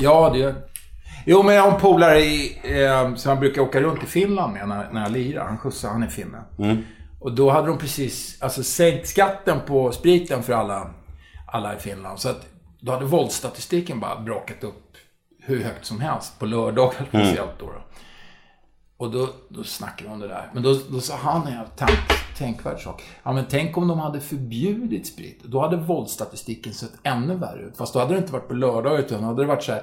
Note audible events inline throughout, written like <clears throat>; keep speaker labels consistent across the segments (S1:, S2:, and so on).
S1: Ja, det gör Jo, men jag har en polare i, eh, som jag brukar åka runt i Finland med när, när jag lirar. Han skjutsar, han är finne. Och då hade de precis alltså, sänkt skatten på spriten för alla, alla i Finland. Så att då hade våldsstatistiken bara brakat upp hur högt som helst. På lördagar speciellt då. då. Och då, då snackade vi om det där. Men då, då sa han en jävla tank, tänkvärd sak. Ja, men tänk om de hade förbjudit sprit. Då hade våldsstatistiken sett ännu värre ut. Fast då hade det inte varit på lördagar utan då hade det varit så här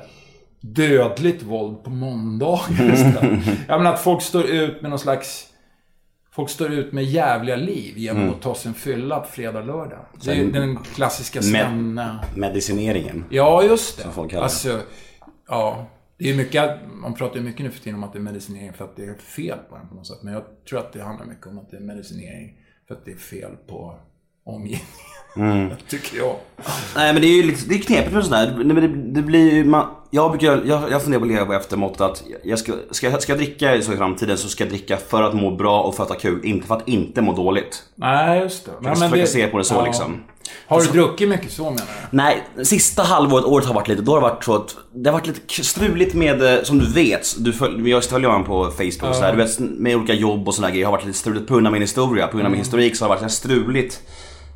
S1: dödligt våld på måndagar istället. Ja, men att folk står ut med någon slags... Folk står ut med jävliga liv genom att ta sin fylla på fredag, lördag. Det är ju den klassiska svenna...
S2: Medicineringen.
S1: Ja, just det. Som
S2: folk kallar det.
S1: Alltså, ja. Det är mycket, man pratar ju mycket nu för tiden om att det är medicinering för att det är fel på den på något sätt. Men jag tror att det handlar mycket om att det är medicinering för att det är fel på omgivningen.
S2: Mm.
S1: <laughs> Tycker jag.
S2: Nej men det är ju liksom, det är knepigt med sådär. Nej, men det, det blir ju, man, jag, brukar, jag, jag funderar på att leva efter måttet att jag ska, ska, jag- ska jag dricka så i framtiden så ska jag dricka för att må bra och för att ha kul. Inte för att inte må dåligt.
S1: Nej, just det.
S2: Jag
S1: Nej,
S2: ska
S1: men
S2: försöka
S1: det-
S2: se på det så
S1: ja.
S2: liksom.
S1: Har du druckit mycket så menar du?
S2: Nej, sista halvåret, året har varit lite, då har det varit så att det har varit lite k- struligt med, eh, som du vet, du följ, jag följer honom på Facebook och sådär, du vet med olika jobb och sådana grejer har varit lite struligt på grund av min historia, på grund av min historik så har det varit så här struligt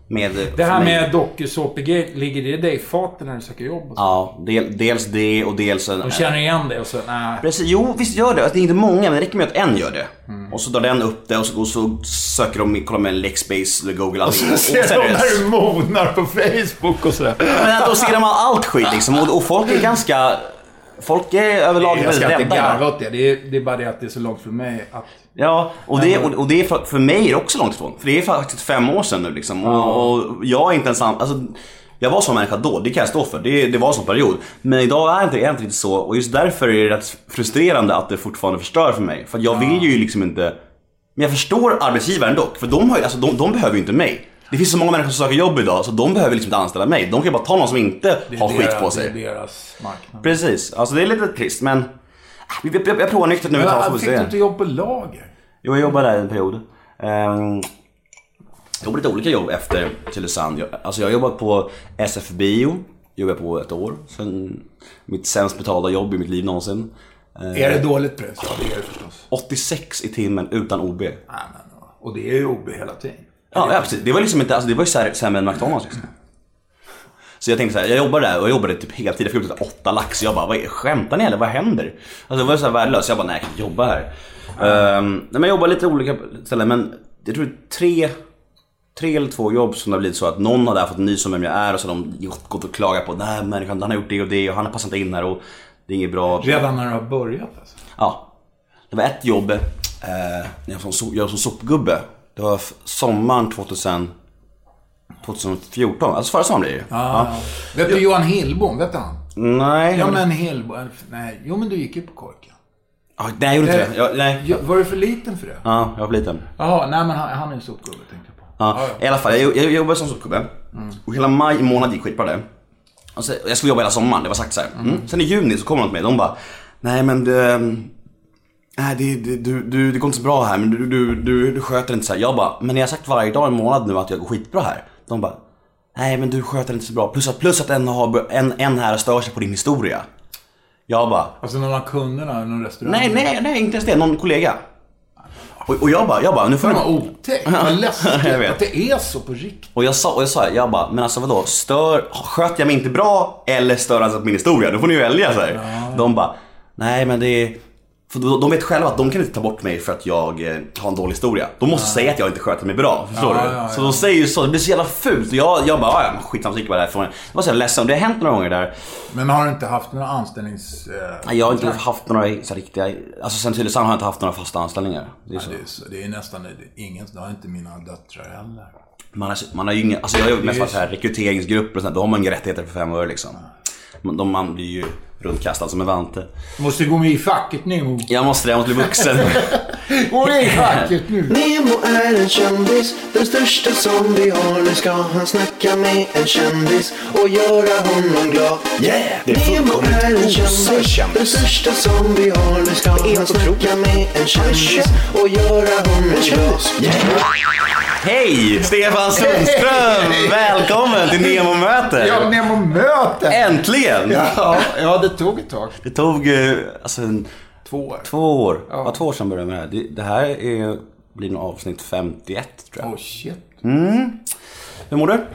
S2: med eh,
S1: Mm. Det här
S2: för mig.
S1: med dokusåpegrej, ligger det dig i fatet när du söker jobb? Och så?
S2: Ja, del, dels det och dels en...
S1: De känner igen dig och så, nej.
S2: Precis, jo visst gör det. Alltså, det är inte många men det räcker med att en gör det. Och så drar den upp det och så, och så söker de, kollar med Lexbase eller Google allting. Och, och,
S1: Ser de
S2: seriöst.
S1: <laughs> när du monar på Facebook och sådär.
S2: Men att då ser de allt skit liksom och, och folk är ganska... Folk är överlag
S1: Jag
S2: väldigt
S1: ska inte
S2: rädda.
S1: garva
S2: ibland.
S1: åt det. Det är, det är bara det att det är så långt från mig att...
S2: Ja, och det, och, och det är för, för mig är det också långt ifrån. För det är faktiskt fem år sedan nu liksom. Och, och jag är inte ensam. Alltså, jag var sån människa då, det kan jag stå för. Det, det var en sån period. Men idag är jag inte, är jag inte riktigt så och just därför är det rätt frustrerande att det fortfarande förstör för mig. För att jag vill ju liksom inte... Men jag förstår arbetsgivaren dock, för de, har, ju- alltså, de, de behöver ju inte mig. Det finns så många människor som söker jobb idag så de behöver liksom inte anställa mig. De kan ju bara ta någon som inte har skit på sig.
S1: Det är deras marknad.
S2: Precis, alltså det är lite trist men... äh, Jag, jag, jag provar nyktert nu ett tag så
S1: Men,
S2: får vi
S1: fick typ du
S2: se.
S1: inte jobb på lager?
S2: Jo, jag jobbade där en period. Um, jag jobbade lite olika jobb efter Tylösand. Jag, alltså jag har jobbat på SF Bio, jobbade på ett år. Sen mitt sämst betalda jobb i mitt liv någonsin. Eh,
S1: Är det dåligt press? Ja, det är det förstås.
S2: 86 i timmen utan OB.
S1: Nej, men, och det är ju OB hela tiden.
S2: Ja, ja precis. Det var liksom inte, alltså det var ju sär- sämre än McDonalds liksom. Så jag tänkte så här, jag jobbade där och jag jobbade typ heltid, jag fick ut åtta lax. Jag bara, vad är, skämtar ni eller vad händer? Alltså det var så här värdelöst. Jag bara, nej jag kan inte jobba här. Ehm, nej, men jag jobbade lite olika ställen men jag tror tre, tre eller två jobb som det har blivit så att någon har där fått nys om vem jag är och så har de gått- gått och klagat på den här människan, han har gjort det och det och han har passat inte in här och det är inget bra.
S1: Redan när du har börjat alltså.
S2: Ja. Det var ett jobb eh, när jag var som, so- jag var som sopgubbe. Det var f- sommaren 2000, 2014. Alltså förra sommaren blir det ju.
S1: Ja. Vet du Johan Hillbom? Vet du han?
S2: Nej,
S1: Ja,
S2: jag-
S1: men Hillbom. Nej, jo men du gick ju på korken.
S2: Ah, nej, jag gjorde
S1: Eh.
S2: inte det. Jag, nej.
S1: Jo, Var du för liten för det?
S2: Ja, jag var för liten.
S1: Jaha, nej men han, han är ju sopgubbe tänkte jag på.
S2: Ja, Mm. I alla fall, jag, jag jobbade som sopgubbe. Och hela maj månad gick skitbra det. Och så, och jag skulle jobba hela sommaren, det var sagt så här. Mm. Sen i juni så kommer de till mig, de bara Nej men det, nej, det, det, du, du, det går inte så bra här men du, du, du, du sköter inte så här. Jag bara, men jag har sagt varje dag i en månad nu att jag går skitbra här. De bara, nej men du sköter inte så bra. Plus att, plus att en, har, en, en här stör sig på din historia. Jag bara,
S1: Alltså någon av kunderna, någon restaurang.
S2: nej nej nej inte ens det, någon kollega. Och, och jag bara, jag bara, nu får
S1: Det
S2: du
S1: var otäckt. Vad läskigt
S2: Jag vet.
S1: att det är så på riktigt.
S2: Och jag sa, och jag, sa jag bara, men alltså vadå, stör, sköt jag mig inte bra eller stör han sig på min historia? Då får ni ju välja så här. De bara, nej men det är... För de de vet själva att de kan inte ta bort mig för att jag eh, har en dålig historia. De måste säga att jag inte sköter mig bra, förstår
S1: Ja,
S2: du?
S1: ja, ja.
S2: Så de säger ju så, det blir så jävla fult. Och jag, jag bara, "Ja, ja men skitsamma så gick jag bara därifrån. Jag var så jävla ledsen, det har hänt några gånger där.
S1: Men har du inte haft några anställnings... eh,
S2: Nej, Jag har inte haft några så här riktiga, alltså sen Tylösand har jag inte haft några fasta anställningar. Det är så.
S1: Det är, så- det är nästan det- ingen, det har inte mina döttrar heller.
S2: Man har, man har ju inga, alltså jag har ju mest varit så här rekryteringsgrupper och sånt, då har man inga rättigheter för fem öre liksom. Men De, man blir ju runtkastad som en vante.
S1: Måste gå med i facket nu.
S2: Jag måste det, jag måste bli vuxen.
S1: Gå med i facket nu.
S3: Nemo är er en kändis, den största som vi har. Nu ska han snacka med en kändis och göra honom glad.
S4: Yeah! Det är
S3: Nemo
S4: fullkomligt
S3: är en kändis, den
S4: okändis.
S3: största som vi har. Nu ska
S4: är
S3: han snacka med en kändis och göra honom glad.
S2: Hej! Stefan Sundström! Välkommen till Nemo-möte!
S1: Ja, Nemo möte.
S2: Äntligen!
S1: Ja, ja, det det tog ett tag.
S2: Det tog eh, alltså, en,
S1: Två år.
S2: två år. Ja. två år sedan började jag med det här. Det, det här är, blir nog avsnitt 51 tror jag.
S1: Oh shit.
S2: Hur mår du?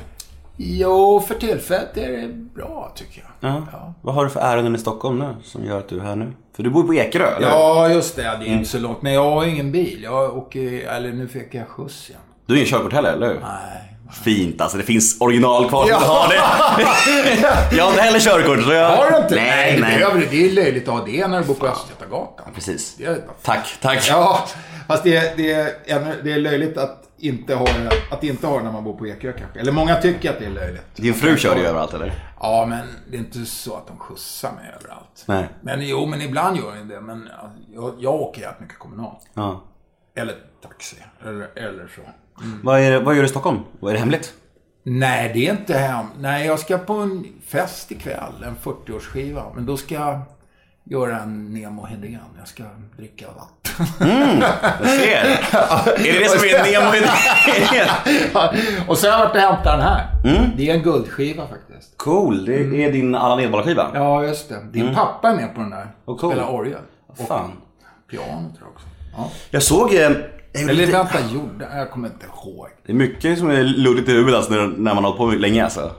S1: Jo, för tillfället är det bra tycker jag.
S2: Ja. Vad har du för ärenden i Stockholm nu som gör att du är här nu? För du bor på Ekerö, eller hur?
S1: Ja, just det. Det är ju inte så långt. Men jag har ju ingen bil. Jag åker, eller nu fick jag skjuts igen.
S2: Du har ingen körkort heller, eller hur?
S1: Nej.
S2: Fint alltså, det finns original kvar som inte har <laughs> det. jag har inte heller körkort. Så jag...
S1: Har du inte?
S2: Nej,
S1: det
S2: nej.
S1: behöver du. Det är löjligt att ha det när du bor på Östgötagatan.
S2: Precis.
S1: Det är-
S2: Tack, tack.
S1: Ja, fast det, det, är, ännu- det är löjligt att inte ha det- att inte ha det när man bor på Ekerö kanske. Eller många tycker att det är löjligt.
S2: Din fru kör ju överallt, eller?
S1: Ja, men det är inte så att de skjutsar mig överallt.
S2: Nej.
S1: Men jo, men ibland gör de det. Men ja, jag, jag åker jävligt mycket kommunalt.
S2: Ja.
S1: Eller taxi. Eller, eller så.
S2: Vad, är det, vad gör du i Stockholm? Vad är det hemligt?
S1: Nej, det är inte hem. Nej, jag ska på en fest ikväll. En 40-årsskiva. Men då ska jag göra en Nemo Hedén. Jag ska dricka <laughs> vatten.
S2: Jag ser. är det det som är Nemo i
S1: Och sen har jag varit och hämtat den här. Det är en guldskiva faktiskt. Mm.
S2: Cool, det är din Allan Edwall-skiva.
S1: Ja, just det. Din pappa är med på den där.
S2: Vad cool.
S1: Spelar orgel. Och
S2: Fan.
S1: piano tror jag också. Ja.
S2: Jag såg... eh, jag gjorde
S1: Eller
S2: lite-
S1: vänta, gjorde... Jag kommer inte ihåg.
S2: Det är mycket som är luddigt i huvudet alltså, när, när man har hållit på länge alltså.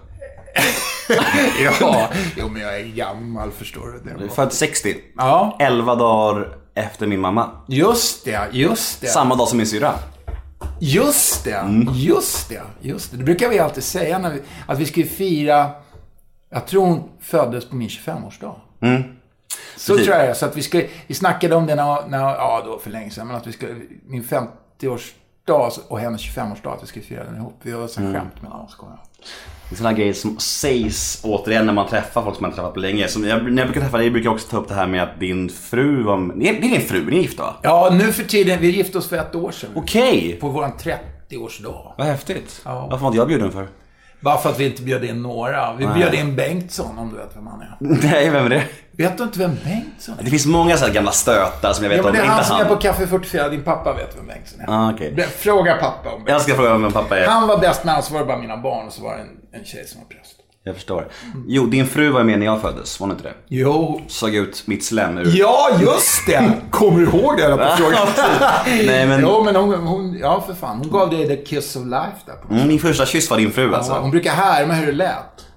S1: Ja, <laughs> jo men jag är gammal förstår du. Det var-
S2: Född 60.
S1: Ja,
S2: 11 dagar efter min mamma.
S1: just det, just det.
S2: Samma dag som min syrra.
S1: Just det, just det, just det. Det brukar vi alltid säga när vi, att vi ska ju fira, jag tror hon föddes på min 25-årsdag. Så
S2: Precis.
S1: tror jag det är. Så att vi skulle, vi snackade om det när, när, ja då för länge sedan, men att vi skulle, min 50-årsdag och hennes 25-årsdag, att vi skulle fira den ihop. Vi har så skämt mellan oss, skojar.
S2: Det är sådana grejer som sägs återigen när man träffar folk som man inte träffat på länge. Som jag, när jag brukar träffa dig brukar jag också ta upp det här med att din fru var... Det är din fru, ni är gifta va?
S1: Ja, nu för tiden, vi gifte oss för ett år sedan.
S2: Okej!
S1: På våran 30-årsdag.
S2: Vad häftigt.
S1: Ja.
S2: Varför var inte jag bjuden för? <laughs>
S1: Bara för att vi inte bjöd in några. Vi bjöd in Bengtsson, om du vet vem han är.
S2: Nej, vem är det?
S1: Vet du inte vem Bengtsson är?
S2: Det finns många så här gamla stötar som jag vet
S1: Ja, men
S2: om.
S1: det är
S2: inte
S1: han som är på Café 44. Din pappa vet vem Bengtsson är.
S2: Ah, okej.
S1: Be- Fråga pappa om
S2: Jag
S1: Bengtsson.
S2: ska fråga vem pappa är.
S1: Han var bäst man, så var det bara mina barn och så var det en, en tjej som var präst.
S2: Jag förstår. Jo, din fru var med när jag föddes, var hon inte det?
S1: Jo.
S2: Såg ut mitt slem ur...
S1: Ja, just det! Kommer du ihåg det? Jag
S2: Ja, precis. <laughs> Nej, men-
S1: Jo, men hon, hon, ja för fan. Hon gav dig the kiss of life där på
S2: Mm, Min första kyss var din fru alltså.
S1: Hon brukar härma hur det lät.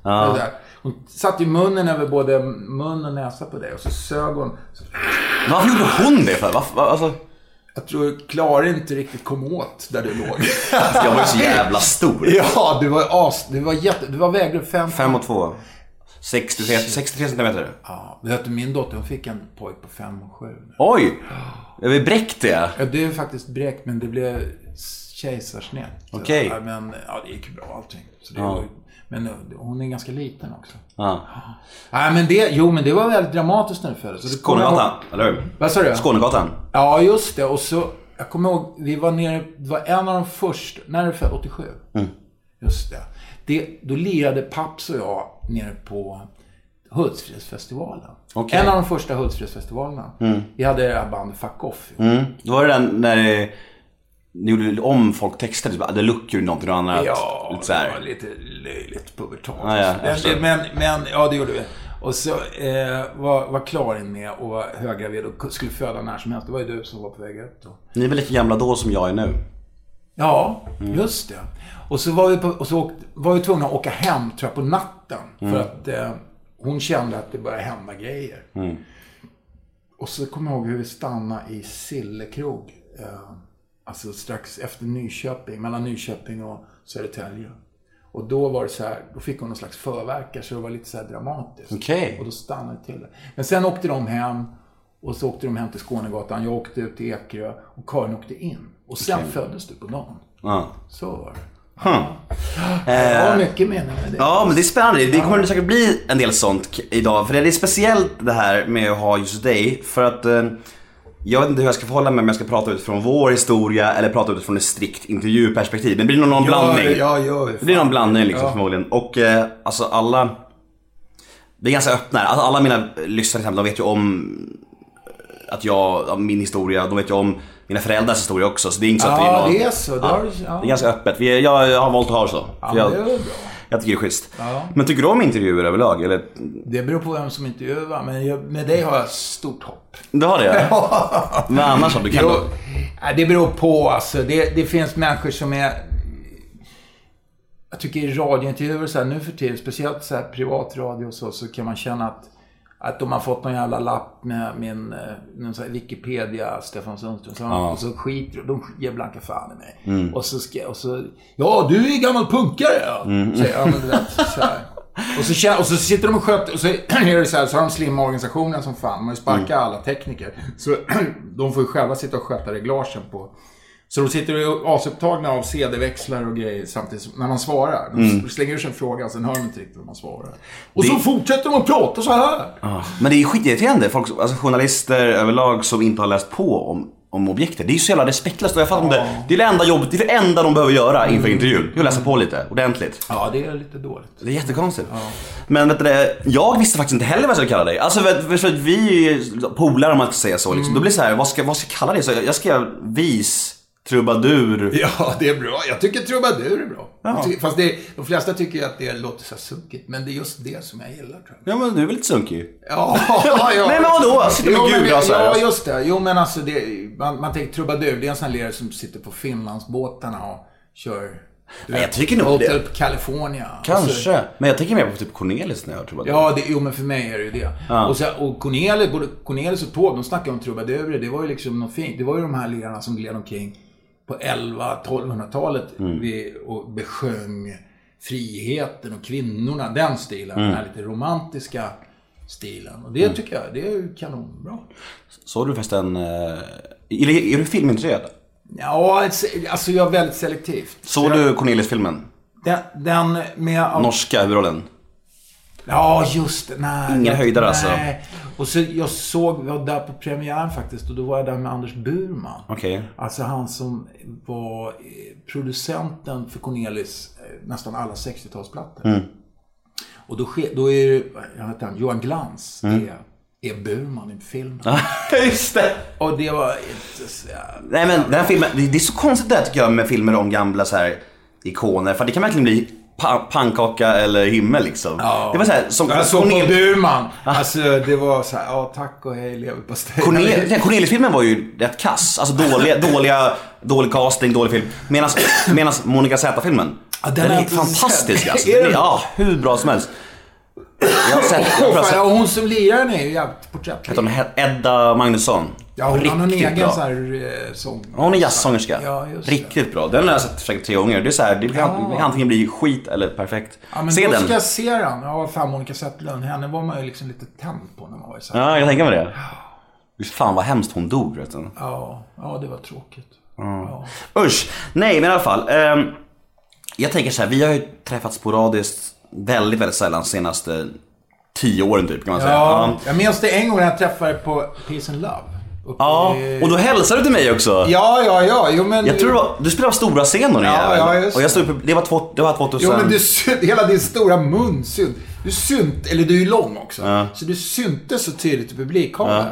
S2: Ja.
S1: Det där. Hon satte ju munnen över både mun och näsa på dig och så sög hon. Så
S2: Varför gjorde hon det för? Varför? Alltså,
S1: jag tror Klara inte riktigt kom åt där du låg.
S2: jag var ju så jävla stor.
S1: ja, du var as... Du var jätte... Du var vägde fem...
S2: Fem och två. 63, 63 centimeter.
S1: Ja, vet du, min dotter hon fick en pojk på fem och sju.
S2: Oj! Jag blev bräckt det.
S1: Ja, det är faktiskt bräckt, men det blev kejsarsnitt. Så,
S2: Okej.
S1: ja, Men ja, det gick ju bra allting. Så det var, ju- men eh, hon är ganska liten också.
S2: Ja.
S1: Nej, men det, jo, men det var väldigt dramatiskt när du föddes. Så det kommer jag ihåg-
S2: Skånegatan, eller hur?
S1: Vad sa du?
S2: Skånegatan.
S1: Ja, just det. Och så, jag kommer ihåg, vi var nere, det var en av de första, när du föddes, 87?
S2: Mm.
S1: Just det. det. Då lirade Paps och jag nere på Hultsfredsfestivalen.
S2: Okej.
S1: En av de första Hultsfredsfestivalerna. Vi hade det här bandet Fuck Off.
S2: Mm. Då var det den när eh, ni gjorde om folk texter. Typ, ah, the look gjorde någonting och annat.
S1: Ja,
S2: lite så
S1: det var
S2: här.
S1: lite löjligt pubertalt.
S2: Ja, ja, alltså. jag förstår.
S1: men, men, men, ja det gjorde vi. Och så eh, var, var Klarin med och var höggravid och skulle föda när som helst. Det var ju du som var på väg ut då.
S2: Ni är väl lika gamla då som jag är nu?
S1: Ja, just det. Och så var vi, på, och så åkte, var vi tvungna att åka hem, tror jag, på natten. För att eh, hon kände att det började hända grejer. Och så kommer jag ihåg hur vi stannade i Sillekrog. Eh, alltså strax efter Nyköping, mellan Nyköping och Södertälje. Och då var det så här, då fick hon någon slags förverkare så det var lite så här dramatiskt.
S2: Okej.
S1: Och då stannade det till det. Men sen åkte de hem och så åkte de hem till Skånegatan. Jag åkte ut till Ekerö och Karin åkte in. Och sen föddes du på dagen.
S2: Ja.
S1: Så var det.
S2: Huh. Eh,
S1: Jag har mycket mening med det.
S2: Ja, men det är spännande. Det kommer säkert bli en del sånt k- idag. För det är speciellt det här med att ha just dig. För att eh, jag vet inte hur jag ska förhålla mig om jag ska prata utifrån vår historia eller prata utifrån ett strikt intervjuperspektiv. Men det blir nog någon blandning.
S1: Ja, ja, ja.
S2: Det blir någon blandning liksom förmodligen. Och eh, alltså alla... Vi är ganska öppna här. Alltså, alla mina lyssnare till exempel, de vet ju om eh, att jag, min historia, de vet ju om mina föräldrars historia också. Så det är inte så att
S1: Ja,
S2: någon-
S1: det är så. Det har du- ja.
S2: Det är ganska öppet. Vi, jag, jag har valt att ha det så. För
S1: men
S2: jag,
S1: det är väl bra.
S2: Jag tycker det är schysst.
S1: Ja.
S2: Men tycker du om intervjuer överlag? Eller?
S1: Det beror på vem som intervjuar, men jag, med dig har jag stort hopp.
S2: Du har det? <laughs> Ja. Men annars då? Du kan
S1: Jo,
S2: då...
S1: nej, det beror på alltså. Det, det finns människor som är... Jag tycker i radiointervjuer så här, nu för tiden, speciellt så här privat radio och så, så kan man känna att, att de har fått någon jävla lapp med min eh, någon så här Wikipedia, Stefan Sundström, så, och så skiter de, de ger blanka fan i mig. Och, så ska, och så, ja du är gammal punkare ja. Säger jag, men du vet, så här. Och så, känner, och så sitter de och sköter, och så <clears throat> är det så här, så har de slimma organisationen som fan. Man har ju sparkat alla tekniker. Så <clears throat> de får ju själva sitta och sköta reglagen på. Så de sitter ju asupptagna av CD-växlar och grejer samtidigt som, när man svarar. De slänger ur sig en fråga, sen hör de inte riktigt vad man svarar. Och så fortsätter de att prata så här.
S2: Ja. Men det är ju skitirriterande. Folk, som- alltså journalister överlag som inte har läst på om, om objektet. Det är ju så jävla respektlöst. Och jag fattar inte. Det är det enda jobbet, det är det enda de behöver göra inför
S1: Mm.
S2: intervjun. Det är att läsa på lite ordentligt.
S1: Ja, det är lite dåligt.
S2: Det är jättekonstigt. Men vet du, det, jag visste faktiskt inte heller vad jag skulle kalla dig. Alltså för, för, för att vi är ju polare om man ska säga så.
S1: Mm.
S2: Liksom. Då blir det så här, vad ska, vad ska jag kalla dig? Så jag, jag skrev vis, trubadur.
S1: Ja, det är bra. Jag tycker trubadur är bra. Jag tycker- Fast det, de flesta tycker ju att det låter så här sunkigt. Men det är just det som jag gillar tror jag.
S2: Ja men du är väl lite sunkig?
S1: <laughs> Ja, ja, ja.
S2: Nej, men vadå? Sitter med
S1: Jo, men
S2: gula
S1: det-
S2: så här,
S1: Ja,
S2: alltså.
S1: just det. Jo, men alltså det, man, man tänker trubadur. Det är en sån här lirare som sitter på Finlandsbåtarna och kör... du
S2: Nej, jag
S1: vet,
S2: tycker nog
S1: Hotel
S2: det.
S1: California. Alltså,
S2: Kanske. Men jag tänker mer på typ Cornelis när jag trubadur.
S1: ja, det, jo men för mig är det ju det. Och, så, och Cornelis, både Cornelis och Taube, de snackade om trubadurer. Det var ju liksom något fint. Det var ju de här lirarna som gled omkring på 11-1200-talet vid- och besjöng friheten och kvinnorna. Den stilen. Den här lite romantiska stilen. Och det tycker jag, det är ju kanonbra.
S2: Såg du förresten... Eh, är, är du filmintresserad?
S1: Ja, alltså jag är väldigt selektivt.
S2: Såg du Cornelis-filmen?
S1: Den, den med...
S2: Norska huvudrollen.
S1: Ja, just det. Nej.
S2: Ingen
S1: jag-
S2: höjdare, alltså.
S1: Nej. Och så jag såg, jag var där på premiären faktiskt och då var jag där med Anders Burman.
S2: Okej.
S1: Alltså han som var eh, producenten för Cornelis eh, nästan alla 60-talsplattor.
S2: Mm.
S1: Och då, ske- då är det, jag vet inte, Johan Glans
S2: Mm.
S1: är, är Burman i filmen.
S2: Ah. Just det!
S1: Och det var inte så...
S2: Nej men den här filmen, det det är så konstigt det här tycker jag med filmer om gamla så här ikoner. För det kan verkligen bli pa- pannkaka eller himmel liksom. Det var så här, som
S1: Jag såg på
S2: Cornel-
S1: Burman.
S2: Ah.
S1: Alltså det var så här, ja tack och hej leverpastej.
S2: Cornel- nej, Cornelis-filmen var ju rätt kass. Alltså dåliga, dåliga, dålig casting, dålig film. Medan medans Monica Z-filmen,
S1: Ja, den
S2: den,
S1: har jag
S2: är
S1: inte
S2: fantastisk
S1: sett.
S2: alltså.
S1: Är
S2: Den är,
S1: den?
S2: ja, hur bra som helst. Jag har sett, jag tror jag har
S1: Fan,
S2: sett
S1: ja, hon som lirar nu är ju jävligt porträttlig.
S2: Alltså- heter hon He- Edda Magnusson.
S1: Ja, hon har någon
S2: Riktigt
S1: egen
S2: bra.
S1: så här eh, sång.
S2: Hon är jazzsångerska.
S1: Ja, just det.
S2: Riktigt bra. Den har jag sett säkert tre gånger. Det är så här, det kan antingen bli skit eller perfekt.
S1: Ja, men
S2: Se
S1: då
S2: den.
S1: ska jag se den. Ja, fan Monica Zetterlund. Henne var man ju liksom lite tänd på när man var i så här.
S2: Ja, jag tänker mig det. Fy Fan vad hemskt hon dog vet du.
S1: Ja, ja, det var tråkigt. Ja.
S2: Usch! Nej men i alla fall. ehm, jag tänker så här, vi har ju träffats sporadiskt väldigt, väldigt sällan senaste tio åren typ kan man säga.
S1: Ja,
S2: Ja.
S1: jag minns det en gång när jag träffade på Peace and Love. Uppe
S2: Ja,
S1: i-
S2: och då hälsade du till mig också.
S1: ja, ja, ja. Jo, men...
S2: Jag tror det var, du spelade på stora scenen din
S1: Ja,
S2: jävel.
S1: ja, just
S2: Och jag stod i pub- det var, två, det var 2000.
S1: Jo, men du, syn- hela din stora mun synt. Du synt, eller du är ju lång också. Så du syntes så tydligt i publikkameran.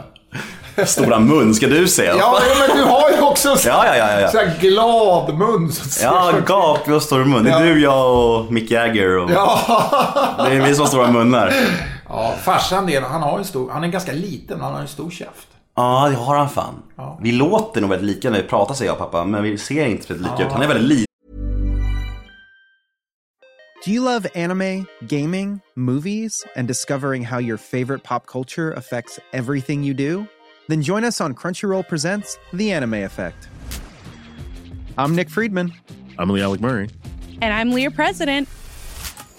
S2: Stora mun ska du säga.
S1: Ja, ja, men du har ju också en sån
S2: Ja, ja, ja, ja.
S1: sån här glad mun. som ser
S2: Ja,
S1: så-
S2: gapig och stor mun. Det är du, jag och Mick Jagger. Och... Det är vi som har stora munnar.
S1: ja, farsan det, han har ju stor, han är ganska liten, men han har en stor käft.
S2: Ja, det har han fan. Vi låter nog väldigt lika när vi pratar, säger jag och pappa. Men vi ser inte väldigt lika ut. Han är väldigt liten.
S4: Do you love anime, gaming, movies, and discovering how your favorite pop culture affects everything you do? Then join us on Crunchyroll Presents The Anime Effect. I'm Nick Friedman.
S5: I'm Lee Alec Murray.
S6: And I'm Leah President.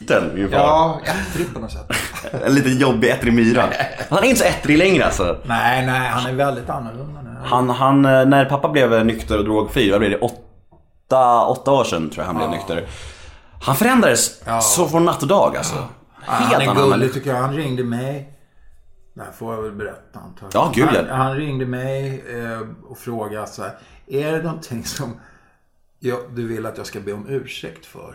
S2: Den, min far.
S1: Ja, ettrig på något sätt.
S2: En liten jobbig ettrig myra. Han är inte så ettrig längre alltså.
S1: Nej, nej, han är väldigt annorlunda nu.
S2: Han, han, eh, när pappa blev nykter och drogfri, vad blev det? Åtta, åtta år sedan tror jag han blev nykter. Han förändrades så från natt och dag alltså.
S1: Han
S2: annan
S1: är gullig
S2: människa.
S1: tycker jag. Han ringde mig. Det här får jag väl berätta antar jag.
S2: Ja, gud, ja.
S1: han, han ringde mig eh, och frågade så här. Är det någonting som jag, du vill att jag ska be om ursäkt för?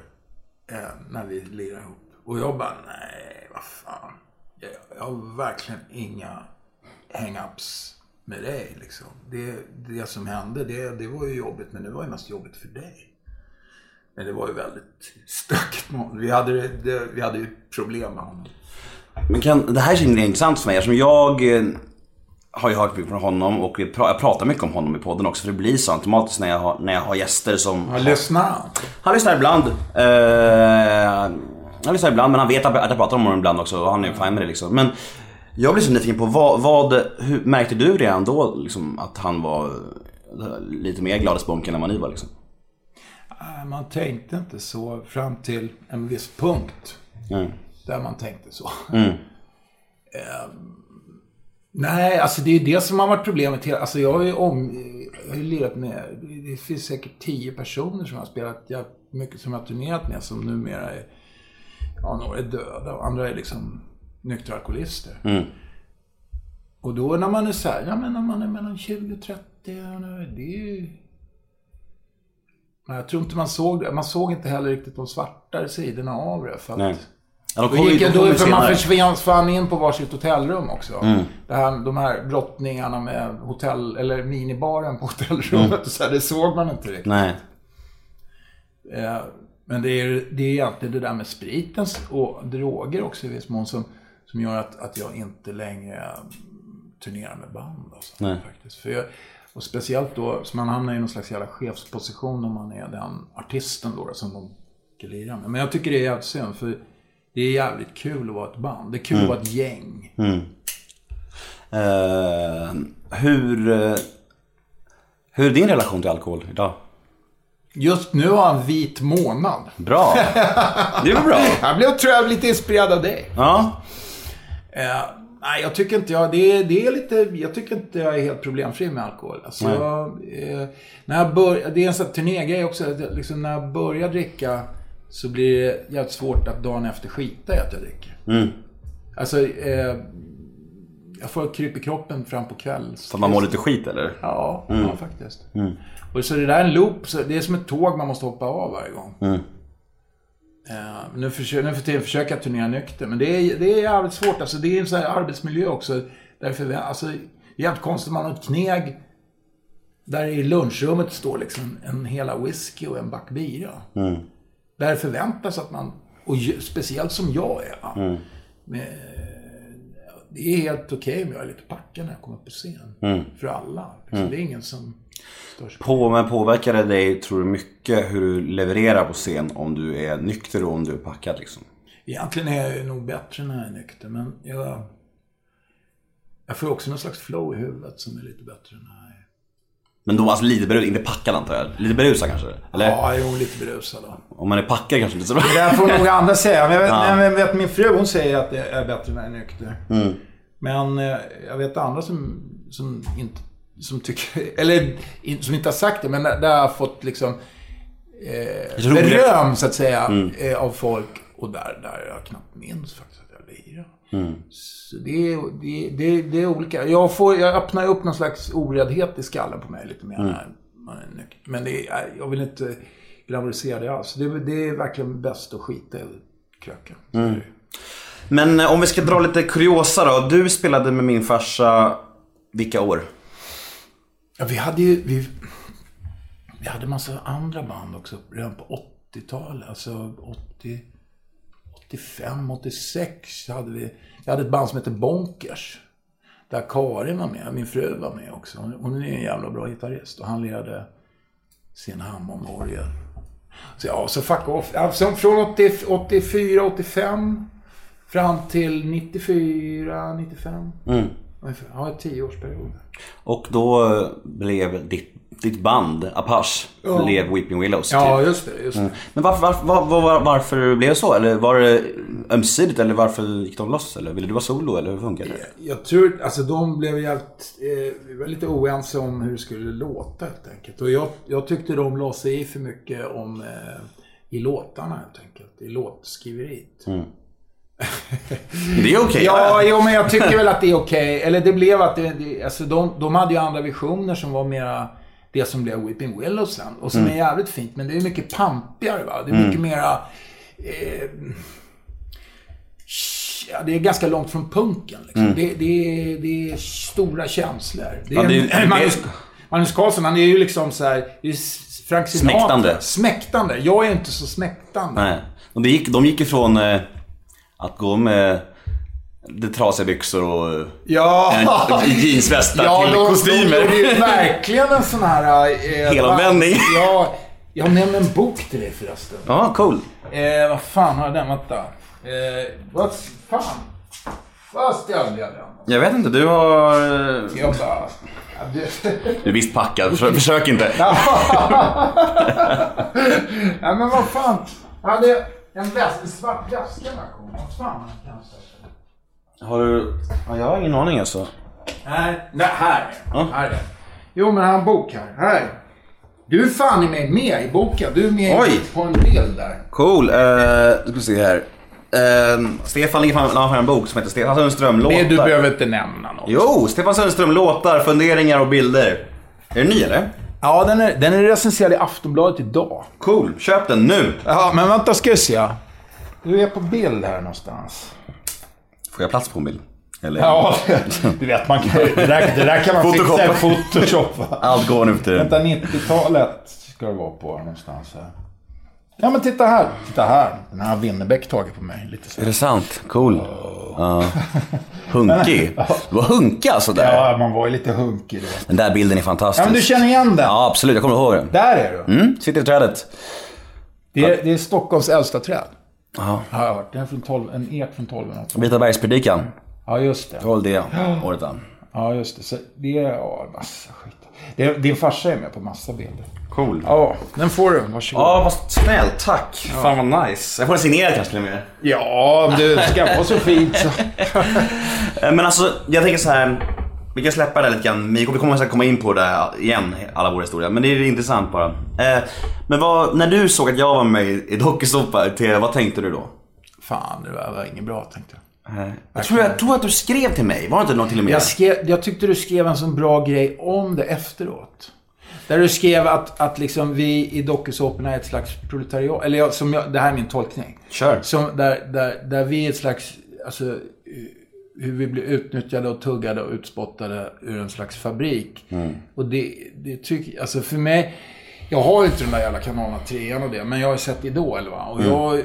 S1: Eh, när vi lirar ihop. Och jag bara, nej vad fan. Jag, jag har verkligen inga hang-ups med dig liksom. Det, det som hände, det, det var ju jobbigt. Men det var ju mest jobbigt för dig. Men det var ju väldigt stökigt med honom. Vi hade, det- det, vi hade ju problem med honom.
S2: Men kan, det här är så himla intressant för mig eftersom jag eh, har ju hört mycket från honom och vi pra, jag pratar mycket om honom i podden också för det blir så automatiskt när jag har, när jag har gäster som...
S1: Ja, lyssna.
S2: Han lyssnar ibland. Eh, han lyssnar ibland men han vet att jag pratar om honom ibland också och han är fine med det liksom. Men jag blir så nyfiken på vad, vad hur, märkte du redan då liksom, att han var eh, lite mer gladisbonken än vad ni var liksom?
S1: Nej, Man tänkte inte så fram till en viss punkt. Där man tänkte så. Ehm, nej, alltså det är ju det som har varit problemet. hela- Alltså jag har ju om... Jag har ju lirat med... Det finns säkert tio personer som jag har spelat jävligt mycket, som jag har turnerat med, som numera är... Ja, några är döda och andra är liksom nyktra alkoholister. Och då när man är så här, ja men när man är mellan 20 och 30, det är ju... Men jag tror inte man såg det. Man såg inte heller riktigt de svartare sidorna av det. För att
S2: Nej. Ja, de
S1: Då
S2: kommer ju-
S1: gick
S2: de
S1: jag,
S2: kommer
S1: då,
S2: ju
S1: för man
S2: senare. Mm.
S1: försvann fan in på varsitt hotellrum också. Det här, de här brottningarna med hotell, eller minibaren på hotellrummet.
S2: Mm.
S1: och Så här, det såg man inte riktigt.
S2: Nej.
S1: Eh, Men det är, det är egentligen det där med spriten och droger också i viss mån som, som gör att, att jag inte längre mm, turnerar med band. Alltså, faktiskt. För jag, och speciellt då, så man hamnar i någon slags jävla chefsposition om man är den artisten då, som de ska lira med. Men jag tycker det är jävligt synd, för det är jävligt kul att vara ett band. Det är kul att vara ett gäng.
S2: Eh, hur, eh, hur är din relation till alkohol idag?
S1: Just nu har jag en vit månad.
S2: Bra! <laughs> Det är väl bra?
S1: Jag blev, tror jag, lite inspirerad av dig.
S2: Ja.
S1: Eh, nej, jag tycker inte jag... Det är, det är lite... Jag tycker inte jag är helt problemfri med alkohol. Alltså, jag, eh, när jag bör, det är en sån här turnégrej också. att jag Liksom, när jag börjar dricka så blir det jävligt svårt att dagen efter skita i att jag dricker. Alltså, eh, jag får kryp i kroppen fram på kvälls...
S2: För att man mår lite skit eller?
S1: Ja, ja faktiskt. Och så det där är en loop. Så det är som ett tåg man måste hoppa av varje gång. Eh, nu, försöker, nu för tiden försöker jag turnera nykter, men det är, det är jävligt svårt. Alltså, det är en sån här arbetsmiljö också. Därför, vi- alltså, det är jävligt konstigt om man har ett kneg. Där i lunchrummet står liksom en hela whisky och en back bira. Där det förväntas att man, och ju- speciellt som jag är. va. Men, det är helt okej om jag är lite packad när jag kommer upp på scen. För alla. Liksom, Det är ingen som stör sig på
S2: På, men påverkar det dig, tror du, mycket hur du levererar på scen om du är nykter och om du är packad liksom?
S1: Egentligen är jag ju nog bättre när jag är nykter, men jag... Jag får ju också någon slags flow i huvudet som är lite bättre när jag är...
S2: Men då alltså lite berusad, inte packad antar jag? Lite berusad kanske? Eller?
S1: Ja, jag är lite berusad då.
S2: Om man är packad kanske inte så bra?
S1: Det
S2: <laughs>
S1: där får nog andra säga. Men jag vet,
S2: Ja.
S1: nej, men jag vet, min fru hon säger att jag är bättre när jag är nykter. Men eh, jag vet andra som, som inte som tycker, eller in, som inte har sagt det, men där, där har jag fått liksom eh,
S2: tror det- Mm.
S1: beröm så att säga eh, av folk. Och där, där jag knappt minns faktiskt att jag lirar.
S2: Mm.
S1: Så det, är- det, det, det är olika. Jag, får, jag öppnar upp någon slags oräddhet i skallen på mig lite mer
S2: Mm.
S1: när man är nykter. Men det är, jag vill inte glamorisera det alls. Det, är- det är verkligen bäst att skita i kröken.
S2: Mm. Men eh, om vi ska dra lite kuriosa då. Du spelade med min farsa, vilka år?
S1: Ja, vi hade ju... Vi, vi hade massa andra band också redan på 80-tal, alltså 80, 85, 86 hade vi... Jag hade ett band som hette Bonkers. Där Karin var med, min fru var med också. Hon- Hon är en jävla bra gitarrist och han lirade sin Hammond-orgel. Så ja, så fuck off. Alltså, från 80, 84, 85 fram till 94, 95. Mm. Ja, tioårsperioder.
S2: Och då eh, blev ditt, ditt band, Apache, blev Weeping Willows.
S1: Ja,
S2: typ.
S1: just det. Just det.
S2: Men varför, varför, var, var, var, varför blev det så? Eller var det ömsesidigt? Eller varför gick de loss? Eller ville du vara solo? Eller hur funkade det?
S1: Jag tror, alltså de blev helt, eh, vi var lite oense om hur det skulle låta helt enkelt. Och jag, jag tyckte de la sig i för mycket om, eh, i låtarna helt enkelt. I låtskriveriet.
S2: Det är okej.
S1: Ja,
S2: va?
S1: jo, men jag tycker väl att det är okej. Eller det blev att det, det alltså de, de hade ju andra visioner som var mera det som blev Weeping Willows sen. Och som
S2: Mm.
S1: är jävligt fint, men det är mycket pampigare va. Det är mycket mera... Eh, ja, det är ganska långt från punken liksom. det, det, är, det är stora känslor. Det är,
S2: Mm. Ja, det är-
S1: en, Magnus, Magnus Karlsson, han är ju liksom så här... Det är s- Frank Sinatra.
S2: Smäktande.
S1: Smäktande. Jag är inte så smäktande.
S2: Nej. Och det gick, de gick ifrån eh, att gå med det trasiga byxor och eh,
S1: Ja.
S2: en jeansvästar till
S1: de-
S2: kostymer.
S1: De, gjorde
S2: <laughs>
S1: ju verkligen en sån här... Eh,
S2: Helomvändning.
S1: va- <laughs> Ja, jag nämnde en bok till dig förresten.
S2: Ja, cool.
S1: Eh, vad fan har jag den? Vänta. Eh, vad fan? Vad stjälde jag den?
S2: Jag vet inte, du har... eh,
S1: Jag bara... Ja, du... <laughs>
S2: Du är visst packad, försök, försök inte.
S1: ja, men vad fan. Jag hade en, väs- en svart väska när jag kom. Vad fan har jag den?
S2: Har du... Ja, jag har ingen aning alltså.
S1: Nej, nej här. här är den. Jo, men han bok här. Här. Du är fan i mig med i boken. Du är med
S2: Oj.
S1: på en bild där.
S2: Cool. Uh, ska vi se här. Eh, Stefan ligger fram, la fram en bok som heter Stefan Sundström låtar.
S1: Nej, du behöver inte nämna något.
S2: Jo, Stefan Sundström låtar, funderingar och bilder. Är den ny eller?
S1: Ja, den är, den är recenserad i Aftonbladet idag.
S2: Cool, köp den nu.
S1: Ja, men vänta ska vi se. Du är på bild här någonstans.
S2: Får jag plats på en bild? Eller?
S1: Ja, du vet man kan, det, där, det där kan man fixa i Photoshop. va?
S2: Allt går nu för tiden.
S1: Vänta, 90-talet ska det vara på någonstans här. Ja, men titta här. Titta här. Den här har Winnerbäck tagit på mig. Lite så.
S2: Är det sant? Cool. Ja.
S1: <laughs>
S2: Hunkig. Du var hunka sådär.
S1: Ja, man var ju lite hunkig då.
S2: alltså, Den där bilden är fantastisk.
S1: Ja, men du känner igen den.
S2: Ja, absolut. Jag kommer ihåg den.
S1: Där är du.
S2: Mm, sitter i trädet.
S1: Det, är, det är Stockholms äldsta träd.
S2: Ja.
S1: Har jag hört. Den är från 12, en ek från 1200-talet.
S2: Vitabergspredikan.
S1: Ja, just det.
S2: Det var väl det året va?
S1: Ja, just det. Så det är ja, massa skit. Det, din farsa är med på massa bilder.
S2: Cool.
S1: Ja, den får du. Varsågod.
S2: Ja, vad snällt. Tack. Fan vad nice. Jag får den signerad kanske till och med.
S1: Ja, om du ska vara så fint så.
S2: Eh, Men alltså, jag tänker så här. Vi kan släppa det här lite grann. Vi kommer- vi kommer säkert komma in på det igen, alla våra historier. Men det är intressant bara. Eh, Men vad, när du såg att jag var med i i dokusåpa i TV, vad tänkte du då?
S1: Fan, det där var inget bra tänkte jag.
S2: Jag tror, jag tror att du skrev till mig, var det inte något till och med?
S1: Jag, skrev, jag tyckte du skrev en sån bra grej om det efteråt. Där du skrev att, att liksom vi i dokusåporna är ett slags proletariat. Eller jag, som jag, det här är min tolkning.
S2: <laughs> Kör.
S1: Som där, där, där vi är ett slags, alltså eh, hur vi blir utnyttjade och tuggade och utspottade ur en slags fabrik. Och det, det tycker, alltså för mig, jag har ju inte den där jävla kanalerna trean och det, men jag har ju sett Idol va. Och jag,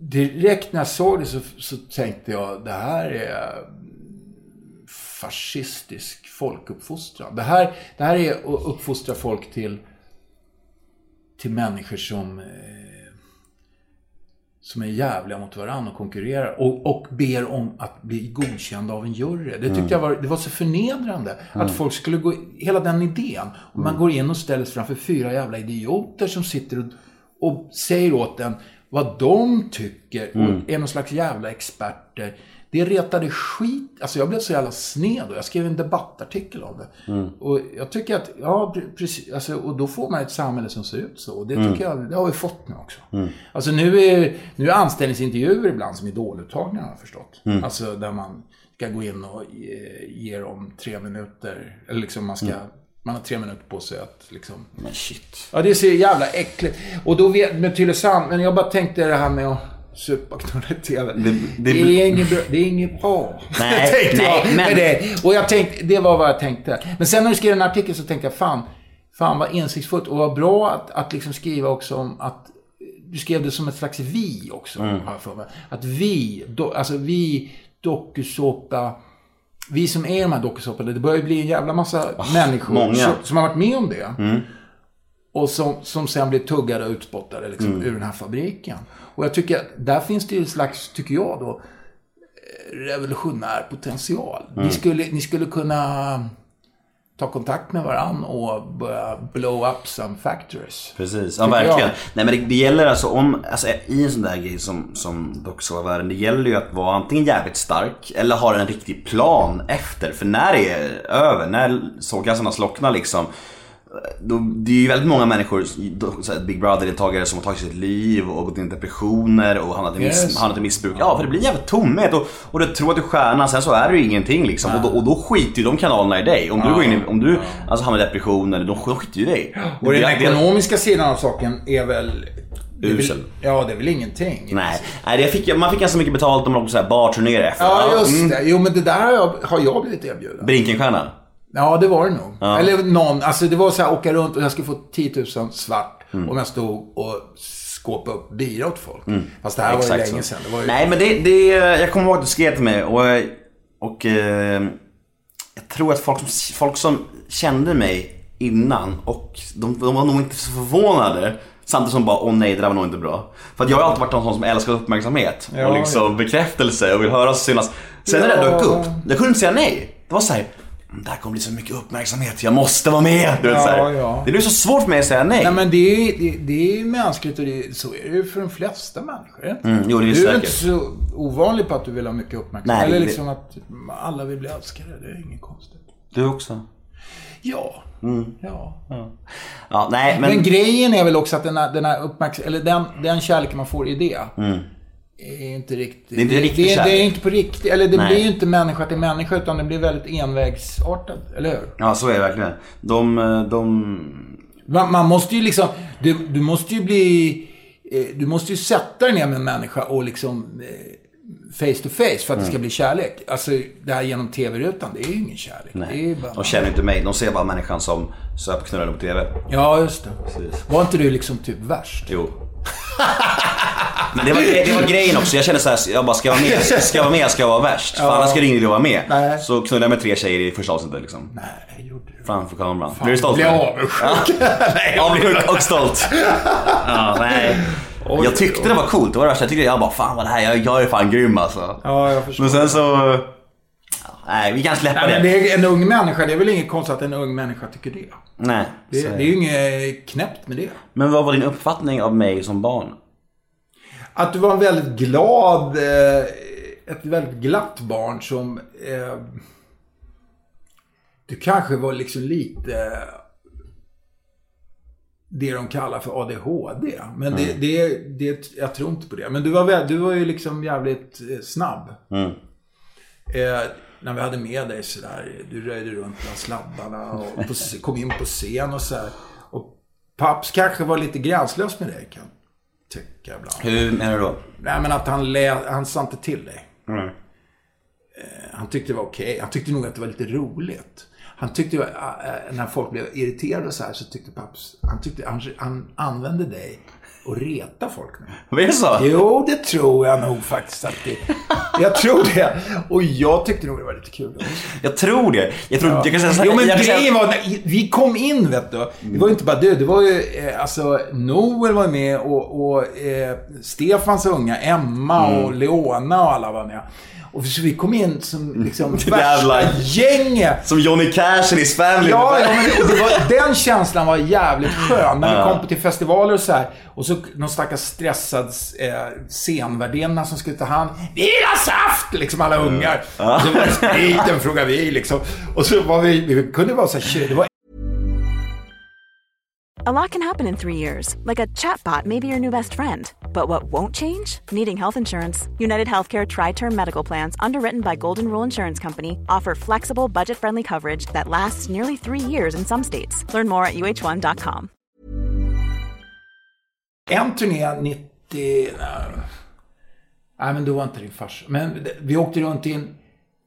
S1: direkt när jag såg det så, så tänkte jag, det här är fascistisk folkuppfostran. Det här, det här är att uppfostra folk till, till människor som, eh, som är jävliga mot varandra och konkurrerar. Och, och ber om att bli godkända av en jury. Det tyckte jag var, det var så förnedrande. Att folk skulle gå, hela den idén. Och man går in och ställer sig framför fyra jävla idioter som sitter och, och säger åt en vad de tycker och är någon slags jävla experter. Det retade skit. Alltså jag blev så jävla sned och jag skrev en debattartikel om det.
S2: Mm.
S1: Och jag tycker att, ja pre- precis, alltså, och då får man ett samhälle som ser ut så. Och det
S2: Mm.
S1: tycker jag, det har vi fått nu också. Alltså nu är, nu är anställningsintervjuer ibland som idoluttagningar har jag förstått.
S2: Mm.
S1: Alltså där man ska gå in och ge, ge dem tre minuter, eller liksom man ska, man har tre minuter på sig att liksom
S2: Mm. Men shit.
S1: Ja, det är så jävla äckligt. Och då vet, med Tylösand, men jag bara tänkte det här med att supa och knulla i TV. Det,
S2: det-
S1: är inget bra. Det är inget bra.
S2: Nej,
S1: <laughs> tänkte
S2: nej,
S1: jag.
S2: men-
S1: med Det. Och jag tänkte, det var vad jag tänkte. Men sen när du skrev den här artikeln så tänkte jag, fan, fan vad insiktsfullt. Och vad bra att, att liksom skriva också om att du skrev det som ett slags vi också,
S2: Mm.
S1: har jag för mig. Att vi, do, alltså vi dokusåpa, vi som är de här dokusåporna, det börjar ju bli en jävla massa människor
S2: Ah, många. Mm.
S1: Som, som har varit med om det. Och som, som sen blir tuggade och utspottade liksom,
S2: Mm.
S1: ur den här fabriken. Och jag tycker att där finns det ju en slags, tycker jag då, eh, revolutionär potential.
S2: Mm.
S1: Ni, skulle, ni skulle kunna ta kontakt med varann och börja blow up some factories.
S2: Precis, ja
S1: Tycker jag.
S2: verkligen. Nej men det, det gäller alltså om, alltså i en sån där grej som, som Dokusåpa-världen, det gäller ju att vara antingen jävligt stark eller ha en riktig plan efter. För när det är över, när sågkassarna slocknar liksom. Då, det är ju väldigt många människor, då- så här, Big Brother-deltagare som har tagit sitt liv och gått in i depressioner och hamnat i, miss,
S1: Yes.
S2: hamnat i missbruk. Ja, för det blir en jävla tomhet och, och du tror att du är stjärnan, sen så är du ingenting liksom. Och då, och då skiter ju de kanalerna i dig. Om du, går in i, om du alltså, hamnar i depression, eller de skiter ju i dig.
S1: Och den
S2: Det- det-
S1: ekonomiska sidan av saken är väl... det är väl-
S2: Usel.
S1: Ja, det är väl ingenting.
S2: Nej, nej det fick, jag- man fick ganska mycket betalt om man åkte så här barturnéer efter.
S1: Ja,
S2: Ja,
S1: just
S2: mm.
S1: det. Jo, men det där har jag, har jag blivit erbjuden.
S2: Brinkenstjärna.
S1: Ja, det var det nog. Eller någon. Alltså, det var så här, åka runt och jag skulle få 10 000 svart
S2: Mm.
S1: om jag stod och skåpade upp bira åt folk. Fast det här var ju
S2: Exakt
S1: länge
S2: så.
S1: sedan. Det var ju...
S2: Nej men det, det, jag kommer ihåg att du skrev till mig och, och eh, jag tror att folk som, folk som kände mig innan och de, de var nog inte så förvånade Samtidigt som bara, åh nej det där var nog inte bra. För att jag har alltid varit en sån som älskar uppmärksamhet och liksom bekräftelse och vill höras och synas. Sen när det dök upp, jag kunde inte säga nej. Det var såhär, det här "Mm, kommer bli så mycket uppmärksamhet, jag måste vara med. Du vet,
S1: Ja,
S2: så här.
S1: ja.
S2: Det blev så svårt för mig att säga nej.
S1: Nej, men det är ju det, det är ju mänskligt och det, är- så är det ju för de flesta människor. är det inte?
S2: Mm, jo, det är
S1: du är
S2: säkert.
S1: väl inte så ovanlig på att du vill ha mycket uppmärksamhet.
S2: Nej,
S1: Eller
S2: det-
S1: liksom att alla vill bli älskade. Det är inget konstigt.
S2: Du också.
S1: Ja.
S2: Mm.
S1: ja.
S2: Ja, nej
S1: Men,
S2: men...
S1: grejen är väl också att den här, den här uppmärksam... Eller den, den kärleken man får i det. Är inte riktigt...
S2: Mm. är inte riktig
S1: det, det är
S2: kärlek.
S1: inte på riktigt. Eller det
S2: Nej.
S1: blir ju inte människa till människa utan det blir väldigt envägsartat. Eller hur?
S2: Ja, så är det verkligen. De, eh, de...
S1: Man, man måste ju liksom... Du, du måste ju bli... eh, Du måste ju sätta dig ner med en människa och liksom... eh, Face to face för att det
S2: Mm.
S1: ska bli kärlek. Alltså det här genom TV-rutan, det är ju ingen kärlek. Det är ju
S2: Nej,
S1: bara...
S2: de känner inte mig. De ser bara människan som söp knullar på TV.
S1: Ja, just det. Var inte du liksom typ värst?
S2: Jo. Men det var, gre- det var grejen också. Jag kände så här, jag bara ska jag vara med, ska jag vara med, ska jag vara värst. För annars skulle ingen vara med.
S1: Nej.
S2: Så knullade jag med tre tjejer i första avsnittet liksom.
S1: Nej, gjorde du.
S2: Framför kameran. Blir du stolt?
S1: Blir jag
S2: eller?
S1: avundsjuk?
S2: Ja, avundsjuk och stolt. Ja, nej. Jag tyckte det var coolt, det var det värsta. Jag tyckte, jag bara fan vad det här, jag, jag är fan grym alltså.
S1: Ja, jag förstår.
S2: Men sen så... ja, Nej, vi kan släppa
S1: Nej, men
S2: det.
S1: det är en ung människa, det är väl inget konstigt att en ung människa tycker det.
S2: Nej.
S1: Det,
S2: så är
S1: det är ju inget knäppt med det.
S2: Men vad var din uppfattning av mig som barn?
S1: Att du var en väldigt glad, eh, ett väldigt glatt barn som... Eh, du kanske var liksom lite... eh, Det de kallar för ADHD. Men det, det, det, jag tror inte på det. Men du var, väl, du var ju liksom jävligt eh, snabb. Eh, när vi hade med dig sådär, du röjde runt bland sladdarna och på, kom in på scen och sådär. Och Paps kanske var lite gränslös med dig kan jag tycka ibland.
S2: Hur menar du då?
S1: Nej men att han, lä- han sa inte till dig. Eh, Han tyckte det var okej. Han tyckte nog att det var lite roligt. Han tyckte, ju, eh, eh, när folk blev irriterade och så här, så tyckte papps, han tyckte, han, han använde dig och reta folk med.
S2: Var det så?
S1: Jo, det tror jag nog faktiskt att det Jag tror det. Och jag tyckte nog det var lite kul också.
S2: Jag tror det. Jag tror, jag kan säga så här,
S1: Jo men
S2: jag kan säga-
S1: grejen var, när vi kom in vet du. Det var ju inte bara du, det var ju eh, alltså Noel var med och, och eh, Stefans unga, Emma och
S2: Mm.
S1: Leona och alla var med. Och så vi kom in som
S2: <laughs>
S1: liksom värsta
S2: Jävlar.
S1: gänget.
S2: Som Johnny Cash i His Family.
S1: Ja, ja men det, och det var, den känslan var jävligt skön. När vi kom på till festivaler och så här. Och så någon stackars stressad eh, scenvärdinna som skulle ta hand. Vi vill ha saft! Liksom alla ungar. Och så var det spriten frågade vi liksom. Och så var vi, vi kunde vara så här, tjugo- det var
S7: A lot can happen in three years, like a chatbot may be your new best friend. But what won't change? Needing health insurance. United Healthcare Tri Term Medical Plans, underwritten by Golden Rule Insurance Company, offer flexible, budget friendly coverage that lasts nearly three years in some states. Learn more at uh1.com.
S1: En turné 90... Nej, nej men då var inte din farsa. Men det- vi åkte runt i en,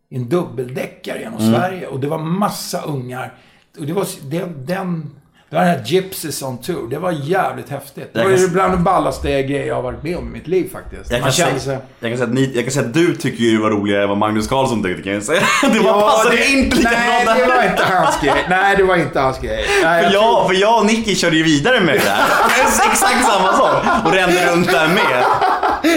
S1: i en
S2: Mm.
S1: dubbeldäckare genom Sverige och det var massa ungar. Och det var s- det, den... Det här Gypsies on Tour, det var jävligt häftigt. Det var
S2: Jag kan-
S1: ju bland de ballaste grejer jag har varit med om i mitt liv faktiskt.
S2: Jag kan,
S1: Man
S2: säga,
S1: känner sig...
S2: jag, kan säga att ni, jag kan säga att du tycker ju det var roligare än vad Magnus Carlsson tyckte kan jag säga. <laughs> Det var
S1: Ja,
S2: passade
S1: det-
S2: inte lika
S1: Nej,
S2: bra
S1: det
S2: där.
S1: var inte hans grej. Nej, det var inte hans grej. Nej, jag
S2: För
S1: tror-
S2: jag, för jag och Nicky körde ju vidare med det där.
S1: <laughs>
S2: Exakt samma sak. Och rände runt där med.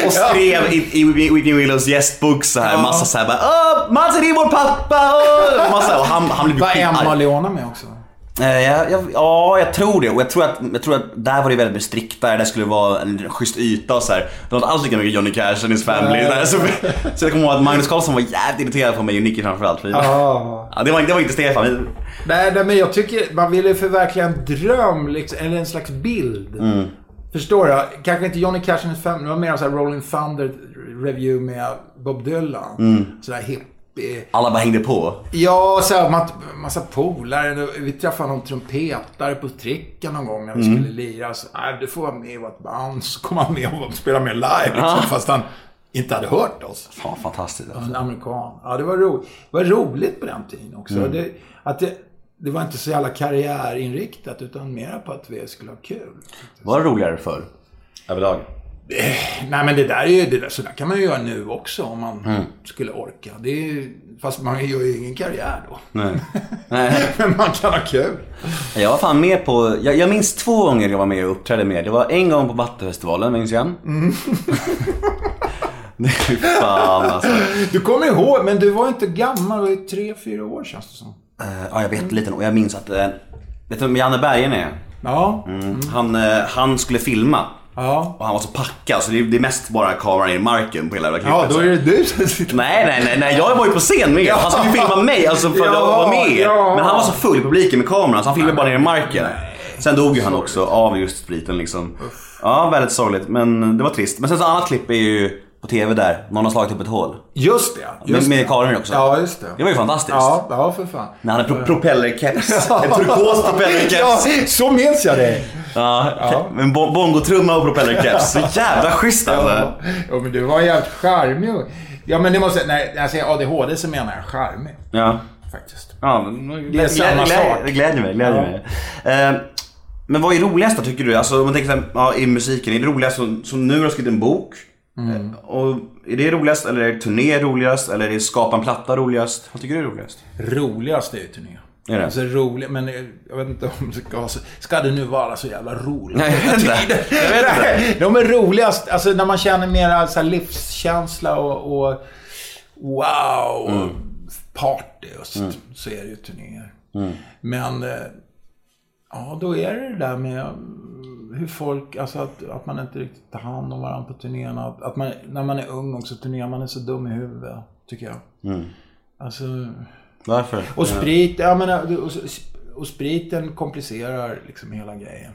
S2: Och skrev i, i Whitney Willows gästbok så här, massa så här bara Åh, Mats det är vår pappa! åh!" Och, massa, och han, han blev
S1: Var
S2: skitarg.
S1: Emma Leona med också?
S2: Eh, jag, jag, ja, jag tror det. Och jag tror, att, jag tror att där var det väldigt mycket striktare. Det skulle vara en schysst yta och så här. Det var inte alls lika mycket Johnny Cash and his family. Där. <laughs> Så, så jag kommer ihåg att Magnus Karlsson var jävligt irriterad på mig och Nicky framförallt. För
S1: Ja.
S2: Ja, det, var, det var inte Stefan. Vi-
S1: Nej, nej, men jag tycker man ville förverkliga en dröm, liksom, eller en slags bild. Förstår du? Kanske inte Johnny Cash and his family, det var mer en sån här Rolling Thunder review med Bob Dylan. Sådär hippie.
S2: Alla bara hängde på.
S1: Ja, så här, man, massa polare. Vi träffade någon trumpetare på tricken någon gång när vi skulle lira. Så, "Nej, du får vara med i vårt band. Så kom han med och spelade med live. Liksom, Fast han inte hade hört oss.
S2: Fan, fantastiskt. Alltså.
S1: En amerikan. Ja, det var, ro, det var roligt på den tiden också.
S2: Mm.
S1: Det, att det, det var inte så jävla karriärinriktat utan mer på att vi skulle ha kul.
S2: Var det roligare förr? Överlag?
S1: Nej men det där är ju, det där, så där kan man ju göra nu också om man
S2: Mm.
S1: skulle orka. Det är, ju- fast man gör ju ingen karriär då. <laughs>
S2: Nej. Nej.
S1: men man kan ha kul.
S2: Jag var fan med på, jag, jag minns två gånger jag var med och uppträdde med. Det var en gång på Vattenfestivalen, minns jag. Mm. <laughs> fan alltså.
S1: Du kommer ihåg, men du var inte gammal. Det var ju tre, fyra år känns det som.
S2: Eh, Ja, jag vet liten och jag minns att, eh, vet du vem Janne Bergen är?
S1: Ja.
S2: Han, eh, han skulle filma.
S1: Ja.
S2: Och han var så packad så det, det är mest bara kameran i marken på hela jävla
S1: Ja,
S2: klippet.
S1: då är det du som sitter...
S2: Nej, nej, nej, nej, jag var ju på scen med. Han skulle ju filma mig, alltså för att jag
S1: Ja,
S2: var med.
S1: ja.
S2: Men han var så full i publiken med kameran så han filmade bara ner i marken. Sen dog ju han också av just spriten liksom. Ja, väldigt sorgligt. Men det var trist. Men sen så annat klipp är ju på TV där. Någon har slagit upp ett hål.
S1: Just det.
S2: Med,
S1: Just
S2: med
S1: det.
S2: Karin också.
S1: Ja, just det.
S2: Det var ju fantastiskt.
S1: Ja, ja för fan.
S2: När han hade pro-
S1: <laughs>
S2: propellerkeps. En turkos propellerkeps.
S1: Ja, så minns jag dig.
S2: Ja, men bo- bongotrumma och propellerkeps. Så jävla schysst alltså.
S1: Ja, Ja, men du var jävligt charmig. Ja, men det måste... Nej, när jag säger ADHD så menar jag charmig.
S2: Ja.
S1: Faktiskt.
S2: ja men-
S1: Det är samma sak.
S2: Det gläder mig. Gläder mig. Eh, men vad är roligast då tycker du? Alltså om man tänker så här, ja, i musiken. Är det roligast som, som nu har du skrivit en bok?
S1: Mm.
S2: Eh, Och är det roligast eller är det turné roligast? Eller är det skapa en platta roligast? Vad tycker du är roligast?
S1: Roligaste är ju turné.
S2: Är det?
S1: Alltså rolig, men eh, jag vet inte om det ska vara så. Ska det nu vara så jävla roligt?
S2: Nej, jag vet inte. Jag vet inte.
S1: Nej, de är roligast, alltså när man känner mera så här livskänsla och, och wow,
S2: Mm.
S1: och party och så, så är det ju turnéer.
S2: Mm.
S1: Men, eh, ja då är det det där med mm, hur folk, alltså att, att man inte riktigt tar hand om varandra på turnéerna. Att, att man, när man är ung också, turnéer, man är så dum i huvudet, tycker jag.
S2: Mm.
S1: Alltså,
S2: Varför?
S1: och sprit, jag menar, och, och spriten komplicerar liksom hela grejen.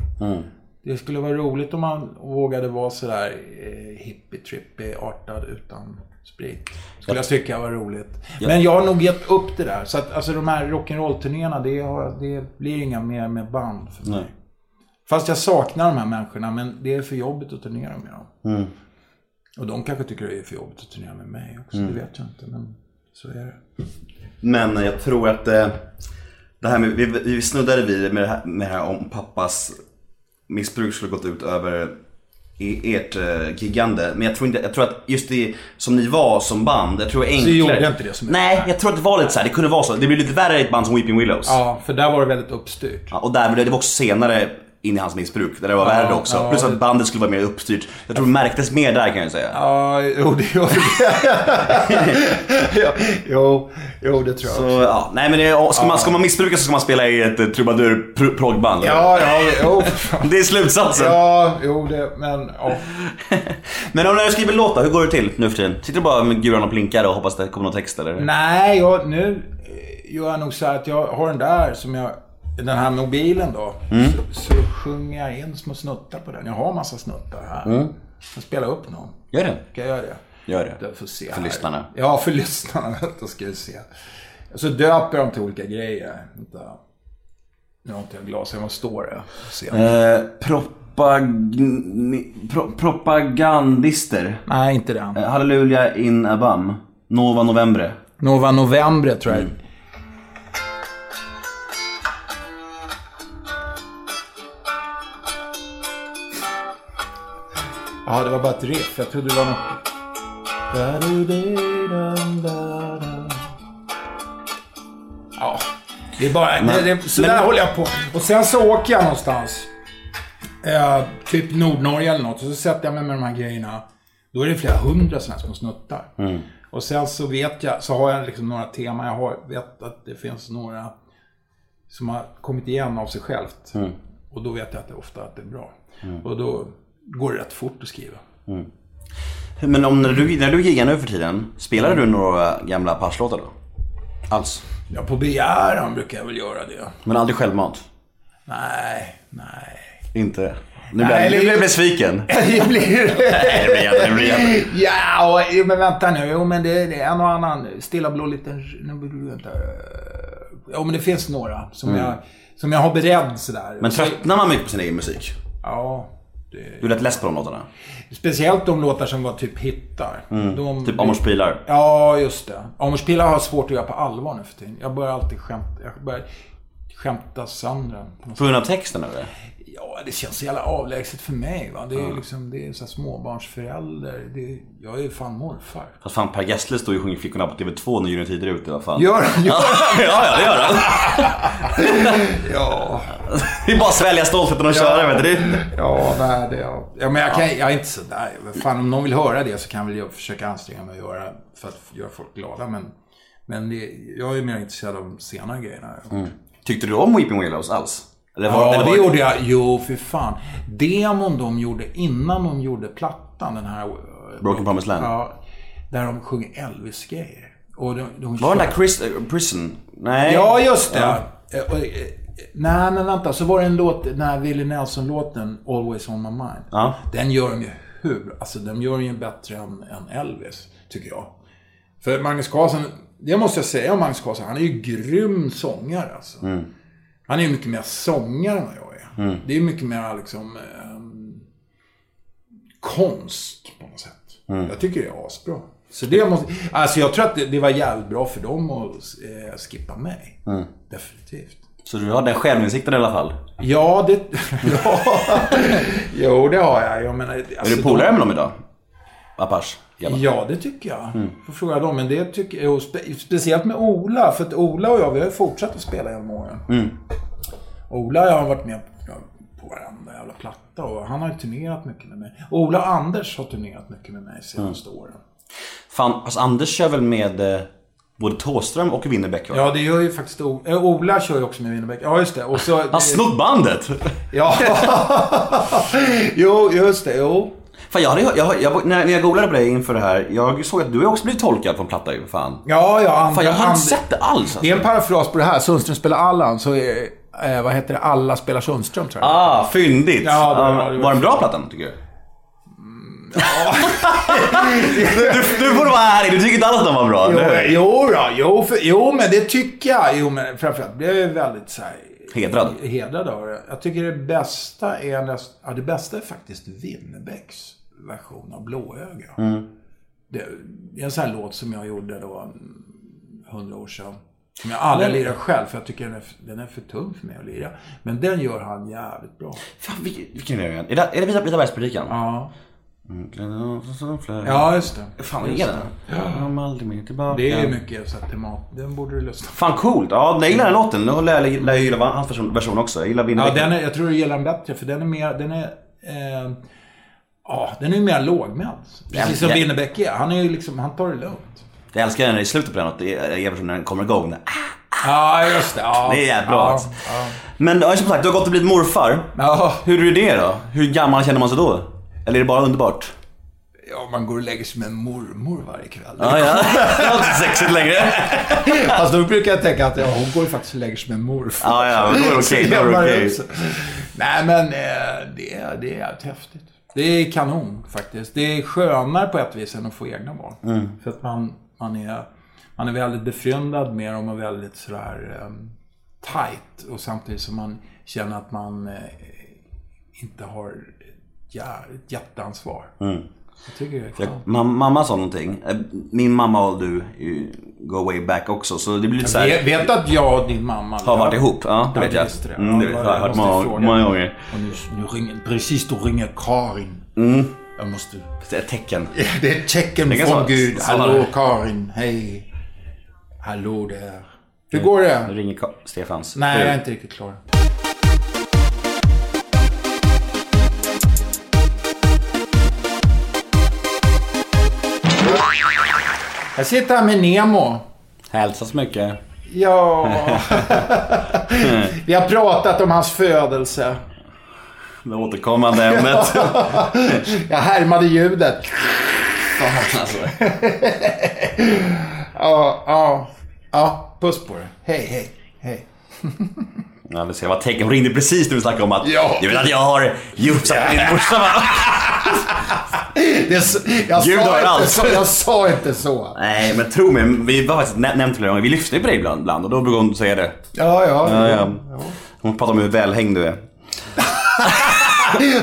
S1: Det skulle vara roligt om man vågade vara sådär eh, hippie-trippie-artad utan sprit. Skulle jag tycka var roligt. Men jag har nog gett upp det där. Så att alltså de här rock'n'roll-turnéerna, det, har- det blir inga mer med band för mig. Fast jag saknar de här människorna, men det är för jobbigt att turnera med dem. Och de kanske tycker det är för jobbigt att turnera med mig också, det vet jag inte. Men så är det.
S2: Men jag tror att eh, det här med, vi, vi snuddade vid det med det här, med det här om pappas missbruk skulle gått ut över i ert eh, giggande. Men jag tror inte, jag tror att just det som ni var som band, jag tror enklare.
S1: Så gjorde inte det som ett-
S2: Nej, jag tror att det var lite så här, det kunde vara så. Det blev lite värre i ett band som Weeping Willows.
S1: Ja, för där var det väldigt uppstyrt.
S2: Ja, Och där, det var också senare in i hans missbruk, där det var värre också.
S1: ja.
S2: Plus att bandet skulle vara mer uppstyrt. Jag tror det märktes mer där kan jag säga.
S1: Ja, jo det gör det. <laughs> jo, jo, det tror jag.
S2: Så, ja. Nej men det, ska, man, ska man missbruka så ska man spela i ett eh, trubadur pro- proggband.
S1: Ja, ja, jo. fan.
S2: Det är slutsatsen.
S1: Ja, jo det, men ja.
S2: <laughs> Men om du skriver låtar, hur går det till nu för tiden? Sitter du bara med guran och plinkar och hoppas det kommer någon text eller?
S1: Nej, jag, nu eh, gör jag nog så här att jag har den där som jag, den här mobilen då. Så, så sjunger jag in små snuttar på den. Jag har massa snuttar här. Jag spelar upp någon.
S2: Gör det.
S1: Ska jag göra det?
S2: Gör det.
S1: Jag får se
S2: För
S1: här.
S2: lyssnarna.
S1: Ja, för lyssnarna. <laughs> Då ska vi se. Så döper de till olika grejer. Vänta. Nu har inte jag glasögon. Vad står det? Får se.
S2: Eh, propag- pro- propagandister.
S1: Nej, inte den.
S2: Eh, Halleluja in abam. Nova novembre.
S1: Nova Mm. November tror jag. Ja, det var bara ett riff. Jag trodde det var något... Ja, det är bara...
S2: Men-
S1: det, det, så där
S2: men-
S1: håller jag på. Och sen så åker jag någonstans. Eh, typ Nordnorge eller något. Och så sätter jag mig med de här grejerna. Då är det flera hundra sådana här små snuttar.
S2: Mm.
S1: Och sen så vet jag, så har jag liksom några teman. Jag har, vet att det finns några som har kommit igen av sig självt. Och då vet jag att det ofta att det är bra. Och då går det rätt fort att skriva.
S2: Men om när du, när du giggar nu för tiden, spelar du några gamla Pars-låtar då? Alls?
S1: Ja, på begäran brukar jag väl göra det.
S2: Men aldrig självmant?
S1: Nej, nej. <laughs>
S2: Inte? Nu blir jag-
S1: eller-
S2: nu blir jag <laughs> besviken.
S1: Det blir...
S2: Nej, det blir jag inte, det blir jag inte.
S1: ja, och, jo, men vänta nu. Jo, men det, det är en och annan stilla blå liten... Nu blir det inte... Jo, men det finns några som, jag, som jag har beredd sådär.
S2: Men tröttnar man mycket på sin egen musik?
S1: Ja.
S2: Du är rätt less på de låtarna?
S1: Speciellt de låtar som var typ hittar. De,
S2: Typ Amors Pilar?
S1: Ja, just det. Amors Pilar har jag svårt att göra på allvar nu för tiden. Jag börjar alltid skämta. Jag börjar skämta sönder den.
S2: På grund av texten eller?
S1: Ja, det känns så jävla avlägset för mig. Va? Det är liksom, det är så här småbarnsförälder. Det är, jag är ju fan morfar.
S2: Fast fan Per Gessle står ju och sjunger Flickorna på TV2 när Gyllene Tider är ute i alla fall.
S1: Gör, gör.
S2: <laughs> ja, ja, det gör han.
S1: <laughs> Ja,
S2: Det är bara att svälja stoltheten och köra vet du. Det-
S1: ja, nej, det är ja, men jag, kan, jag är inte sådär. Men Fan, om någon vill höra det så kan väl jag försöka anstränga mig att göra för att göra folk glada. Men, men det, jag är mer intresserad av de senare grejerna.
S2: Tyckte du om Weeping Willows alls? Eller var,
S1: Ja,
S2: eller var...
S1: det gjorde jag. Jo, för fan. Demon de gjorde innan de gjorde plattan, den här... eh,
S2: Broken Promised Land.
S1: Ja, där de sjöng Elvis-grejer. Och de, de
S2: Var den där Chris, eh, Prison? Nej.
S1: Ja, just det. Eh, och, eh, Nej, men vänta. Så var det en låt, den här Willie Nelson-låten, Always On My Mind.
S2: Ja.
S1: Den gör de ju hur? Alltså, den gör de ju bättre än, än Elvis, tycker jag. För Magnus Carlsen, det måste jag säga om Magnus Carlsen, han är ju grym sångare alltså.
S2: Mm.
S1: Han är ju mycket mer sångare än vad jag är. Det är ju mycket mer liksom ehm, konst på något sätt.
S2: Mm.
S1: Jag tycker det är asbra. Så det måste, alltså jag tror att det, det var jävligt bra för dem att eh, skippa mig.
S2: Mm.
S1: Definitivt.
S2: Så du har den självinsikten i alla fall?
S1: Ja, det... <laughs> ja. Jo, det har jag. jag menar, alltså,
S2: Är du polare med dem idag? Apache?
S1: de-
S2: grabbar?
S1: Ja, det tycker jag.
S2: Mm.
S1: Får fråga dem. Men det tycker jag... och Spe, speciellt med Ola. För att Ola och jag, vi har ju fortsatt att spela genom åren.
S2: Mm.
S1: Ola och jag har varit med på, på varenda jävla platta. Och han har ju turnerat mycket med mig. Ola och Anders har turnerat mycket med mig
S2: Mm.
S1: senaste åren.
S2: Fan, alltså Anders kör väl med eh, både Thåström och Winnerbäck va?
S1: Ja, det gör ju faktiskt O- eh, Ola. kör ju också med Winnerbäck. Ja, just det. Och så...
S2: Han har snott bandet!
S1: Ja. <laughs> jo, just det. Jo.
S2: Fan, jag hade, jag, jag, jag, när när jag googlade på dig inför det här, jag såg att du har också blivit tolkad på en platta ju. Fan.
S1: Ja, ja. Andra,
S2: Fan, jag har
S1: andra-
S2: inte sett det alls.
S1: Det
S2: Alltså.
S1: är en parafras på det här. Sundström spelar Allan, så är, eh, vad heter det? Alla spelar Sundström, tror jag.
S2: Ah, fyndigt.
S1: Ja, det var-
S2: Ah,
S1: det var- Mm,
S2: var den bra plattan, tycker du? <laughs> du, du, du borde vara ärlig, du tycker inte alls att den var bra.
S1: Jo,
S2: eller hur?
S1: jo, då, jo, för, jo, men det tycker jag. Jo, men framförallt blev jag väldigt så här,
S2: Hedrad.
S1: hedrad av det. Jag tycker det bästa är näst, ja, det bästa är faktiskt Winnerbäcks version av Blåöga.
S2: Mm.
S1: Det, det är en sån här låt som jag gjorde då hundra år sedan. Som jag aldrig lirar själv, för jag tycker den är, den är för tung för mig att lira. Men den gör han jävligt bra.
S2: Fan, vilken, vilken är det igen? Är det, är det Vita, Vita bergspredikan?
S1: Ja,
S2: Ja.
S1: ja just det.
S2: Fan, vad är det? Jag kommer aldrig mer tillbaka.
S1: Det är ju mycket så här temat. Den borde du lyssna på.
S2: Fan coolt. Ja, jag gillar den låten. Nu lär jag lär jag gilla hans version- version också. Jag gillar
S1: Ja,
S2: Winnerbäck.
S1: den är, jag tror du gillar den bättre för den är mer, den är, eh, ja, den är ju mer lågmäld.
S2: Ja,
S1: Precis som
S2: ja.
S1: Winnerbäck är. Han är ju liksom, han tar det lugnt.
S2: Jag älskar den i slutet på den låten. Jag gillar när den kommer igång.
S1: Ja, just det. Ja.
S2: Det är jävligt bra
S1: ja,
S2: alltså. Men ja, som sagt, du har gått och blivit morfar.
S1: Ja.
S2: Hur är det då? Hur gammal känner man sig då? Eller är det bara underbart?
S1: ja, man går och lägger sig med en mormor varje kväll.
S2: Ja, Ah, <laughs> ja. Det var inte sexigt längre.
S1: Fast då brukar jag tänka att ja, hon går ju faktiskt och lägger sig med en morfar.
S2: Ja, ja, men då är det
S1: Så <laughs>
S2: okej, då är det
S1: jävlar
S2: okej.
S1: också. Nej, men eh, det, är- det är jävligt häftigt. Det är kanon faktiskt. Det är skönare på ett vis än att få egna barn. För att man, man, är, man är väldigt befryndad med dem och väldigt sådär um, tight. Och samtidigt som man känner att man eh, inte har ett jä- ett jätteansvar. Mm. Jag tycker det är skönt.
S2: Ma- mamma sa någonting. Eh, Min mamma och du är ju go way back också, så det blir lite
S1: Vet,
S2: såhär...
S1: vet du att jag och din mamma
S2: Har varit ihop? Ja, det
S1: Ja,
S2: vet jag.
S1: visst det.
S2: Mm, det vet jag. Jag har hört
S1: Måste
S2: många,
S1: fråga.
S2: många gånger. Mm.
S1: Och nu, nu ringer, precis då ringer Karin. Jag
S2: <laughs>
S1: måste...
S2: Det är ett tecken.
S1: Det är ett tecken
S2: Det kan
S1: från
S2: vara-
S1: Gud.
S2: sådana-
S1: Hallå Karin, hej. Hallå där. Hur går
S2: Nu
S1: det?
S2: ringer Ka- Stefans
S1: Nej,
S2: fru.
S1: jag är inte riktigt klar. Jag sitter här med Nemo.
S2: Hälsa så mycket. <laughs>
S1: Ja... Vi har pratat om hans födelse.
S2: Det återkommande
S1: <laughs>
S2: ämnet.
S1: Jag härmade ljudet.
S2: alltså,
S1: <laughs> Ja, ja, ja. Puss på dig. Hej, hej, hej.
S2: jag vill se vad tecken. Hon ringde precis när vi snackade om att
S1: Ja.
S2: jag vill att jag har jufsat på din
S1: <laughs>
S2: morsa va?
S1: Det är så, jag,
S2: Gud har
S1: sa inte
S2: allt.
S1: så, jag sa inte så.
S2: Nej men tro mig, vi har faktiskt nä- nämnt flera gånger. Vi lyfter ju på dig ibland, ibland och då brukar hon säga det.
S1: Ja, ja.
S2: Ja, ja. Hon pratar om hur välhängd du är.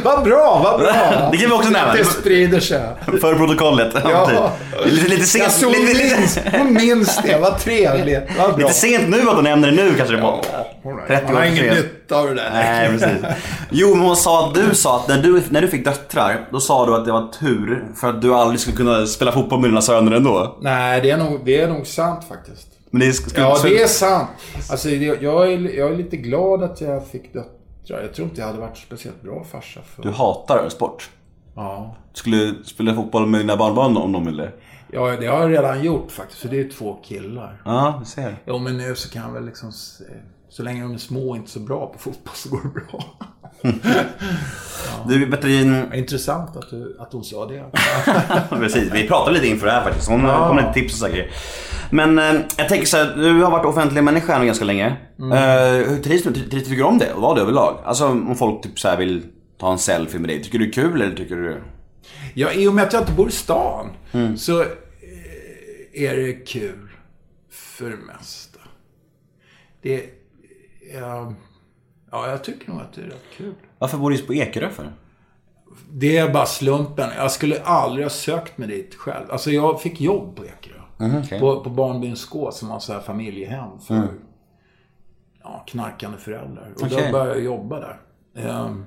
S1: Vad bra, vad bra.
S2: <laughs> Det kan vi också nämna.
S1: Det sprider sig.
S2: För protokollet.
S1: Ja.
S2: Lite, lite,
S1: Jag
S2: sent,
S1: såg
S2: lite,
S1: minns,
S2: lite,
S1: hon minns det. Vad trevligt. Vad bra.
S2: lite sent nu att hon nämner det nu kanske det var.
S1: All right.
S2: 30
S1: Man
S2: år
S1: har
S2: för
S1: ingen
S2: sent.
S1: nytta av det där.
S2: Nej, precis. Jo, men hon sa att du sa att när du, när du fick döttrar, då sa du att det var tur för att du aldrig skulle kunna spela fotboll med dina söner ändå.
S1: Nej, det är, nog, det är nog sant faktiskt.
S2: Men det skulle,
S1: Ja, det är sant. Alltså, det- jag, är, jag är lite glad att jag fick döttrar. Jag tror inte jag hade varit speciellt bra farsa för...
S2: Du hatar sport.
S1: Ja.
S2: Skulle spela fotboll med dina barnbarn om de ville?
S1: ja, det har jag redan gjort faktiskt. Så det är två killar.
S2: Ja, vi ser.
S1: Jo, men nu så kan jag väl liksom... se- Så länge de är små och inte så bra på fotboll så går det bra. Mm.
S2: Du, Petrin,
S1: <laughs> Intressant att, du, att hon sa det.
S2: Precis, vi pratade lite inför det här faktiskt. Hon kom med lite tips och saker. Men eh, jag tänker så här, du har varit offentlig människa nu ganska länge. Eh, hur trivs du? Tri- Trivs tycker du om det? Och vad överlag? Alltså om folk typ så här vill ta en selfie med dig. Tycker du det är kul eller tycker du...
S1: Ja, i och med att jag inte bor i stan så eh, är det kul för det mesta. Det... eh, Ja, jag tycker nog att det är rätt kul.
S2: Varför bor du just på Ekerö för?
S1: Det är bara slumpen. Jag skulle aldrig ha sökt mig dit själv. Alltså jag fick jobb på Ekerö.
S2: Mhm,
S1: på, på Barnbyns Skå som var så här familjehem för
S2: Mm.
S1: ja, knarkande föräldrar. Och
S2: Okej.
S1: då började jag jobba där. Ehm,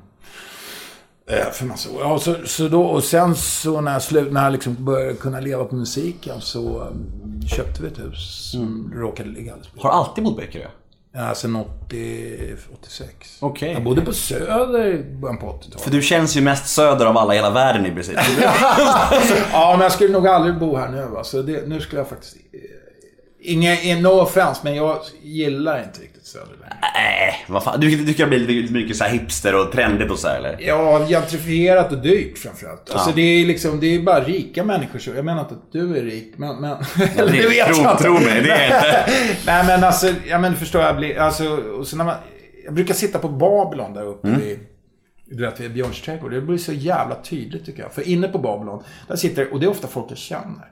S1: eh, för massa år. Ja, så, så då, och sen så när jag, slut, när jag liksom började kunna leva på musiken så um, köpte vi ett hus som
S2: Mm.
S1: råkade ligga alldeles bredvid.
S2: Har du alltid bott på Ekerö?
S1: Ja, sen 80, 86.
S2: Okej.
S1: Jag bodde på Söder i början på 80-talet.
S2: För du känns ju mest söder av alla i hela världen i <laughs> princip.
S1: Ja, men jag skulle nog aldrig bo här nu. Alltså, det, nu skulle jag faktiskt... eh, Inga, eh, no offense, men jag gillar inte riktigt Söder längre.
S2: Nej, vad fan. Du tycker jag blir lite, lite mycket så här hipster och trendigt och så här, eller?
S1: Ja, gentrifierat och dyrt framförallt. Alltså det är liksom, det är bara rika människor så. Jag menar inte att du är rik, men... men <laughs> eller det vet
S2: tro,
S1: jag inte.
S2: tro mig, det är jag inte.
S1: Nej, men alltså, ja men förstår jag. blir- Alltså, och så när man, jag brukar sitta på Babylon där uppe vid, du vet, vid Björns trädgård. Det blir så jävla tydligt tycker jag. För inne på Babylon, där sitter, och det är ofta folk jag känner.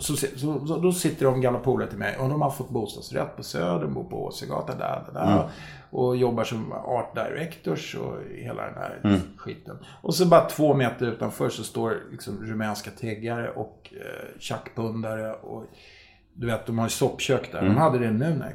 S1: Så, så, så, då sitter de gamla polare till mig och de har fått bostadsrätt på Söder, bor på Åsögatan, där, där, där. Och jobbar som art directors och hela den här skiten. Och så bara två meter utanför så står liksom rumänska tiggare och eh, tjackpundare och du vet, de har ju soppkök där.
S2: Mm.
S1: De hade det nu när jag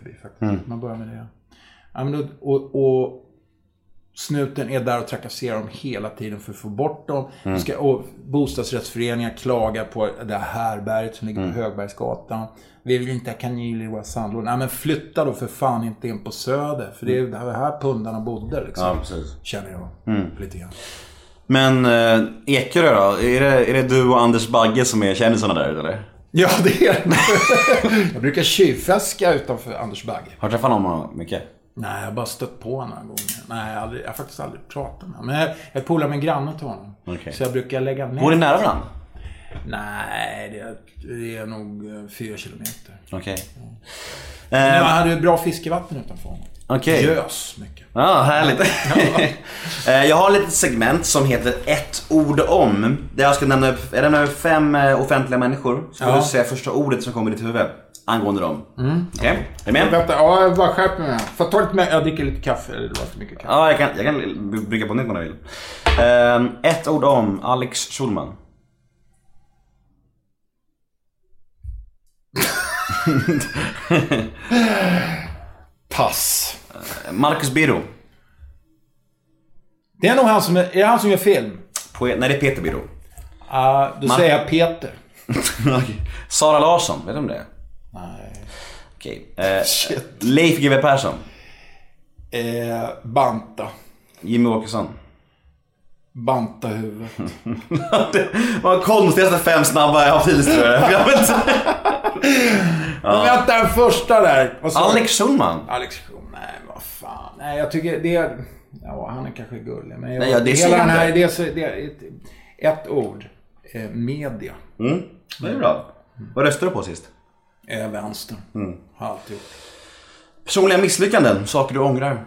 S2: Mm.
S1: förbi faktiskt. Man börjar med det. Ja, men då, och, och Snuten är där och trakasserar dem hela tiden för att få bort dem.
S2: Mm.
S1: Ska, och bostadsrättsföreningar klagar på det här härbärget som ligger på
S2: Mm.
S1: Högbergsgatan. Vi vill inte ha kanyler i våra sandlådor. Nej men flytta då för fan inte in på Söder. För det är ju det här pundarna bodde liksom.
S2: Mm. Ja, precis.
S1: Känner jag
S2: Mm.
S1: lite grann.
S2: Men eh, Ekerö då? Är det, är det du och Anders Bagge som är kändisarna där ute, eller?
S1: Ja, det <laughs> är Jag brukar tjuvfäska utanför Anders Bagge.
S2: Har du träffat eh, honom mycket?
S1: Nej, jag har bara stött på honom några gånger. Nej, jag, har aldrig, jag har faktiskt aldrig pratat med honom. Men jag, jag polar med granne till honom.
S2: Okej.
S1: Så jag brukar lägga ner.
S2: Bor ni nära varandra?
S1: Nej, det är, det är nog eh, fyra kilometer.
S2: Okej.
S1: Men
S2: Eh,
S1: jag hade ju bra fiskevatten utanför honom.
S2: Okej.
S1: Gös mycket.
S2: Ja, härligt. <laughs> Eh, jag har ett litet segment som heter ett ord om. Där jag ska nämna upp, jag nämner upp fem eh, offentliga människor. Så får
S1: Ja.
S2: du säga första ordet som kommer i ditt huvud angående dem.
S1: Mm.
S2: Okej, är du med?
S1: Vänta, ja, jag bara skärper mig. Får jag ta lite mer? Jag dricker lite kaffe. eller Det var för mycket kaffe.
S2: Ja, jag kan, jag kan brygga på nytt om du vill. Eh, ett ord om Alex Schulman.
S1: Pass.
S2: Marcus Birro.
S1: Det är nog han som, är det han som gör film?
S2: Poet, nej, det är Peter Birro.
S1: Ah, då
S2: Man-
S1: säger jag Peter.
S2: <laughs> Okej. Sara Larsson, vet du om det är?
S1: Nej.
S2: Okej. Eh, Leif GW Persson.
S1: Eh, Banta.
S2: Jimmy Åkesson.
S1: Banta huvudet.
S2: det var de konstigaste fem snabba jag har hittills tror jag. <laughs> jag. vet inte.
S1: Men
S2: ja.
S1: Vänta, den första där. Vad sa
S2: Alex
S1: du?
S2: Schulman.
S1: Alex Schulman, nej vad fan. Nej, jag tycker det är... Ja, han är kanske gullig. Men jag,
S2: Nej, ja, det ser
S1: hela den
S2: jag
S1: här,
S2: inte.
S1: det är, så- det är ett, ett ord. Eh, media.
S2: Mm. Det är bra. Vad röstade du på sist?
S1: Eh, vänster.
S2: Mm.
S1: Har alltid gjort.
S2: Personliga misslyckanden, saker du ångrar.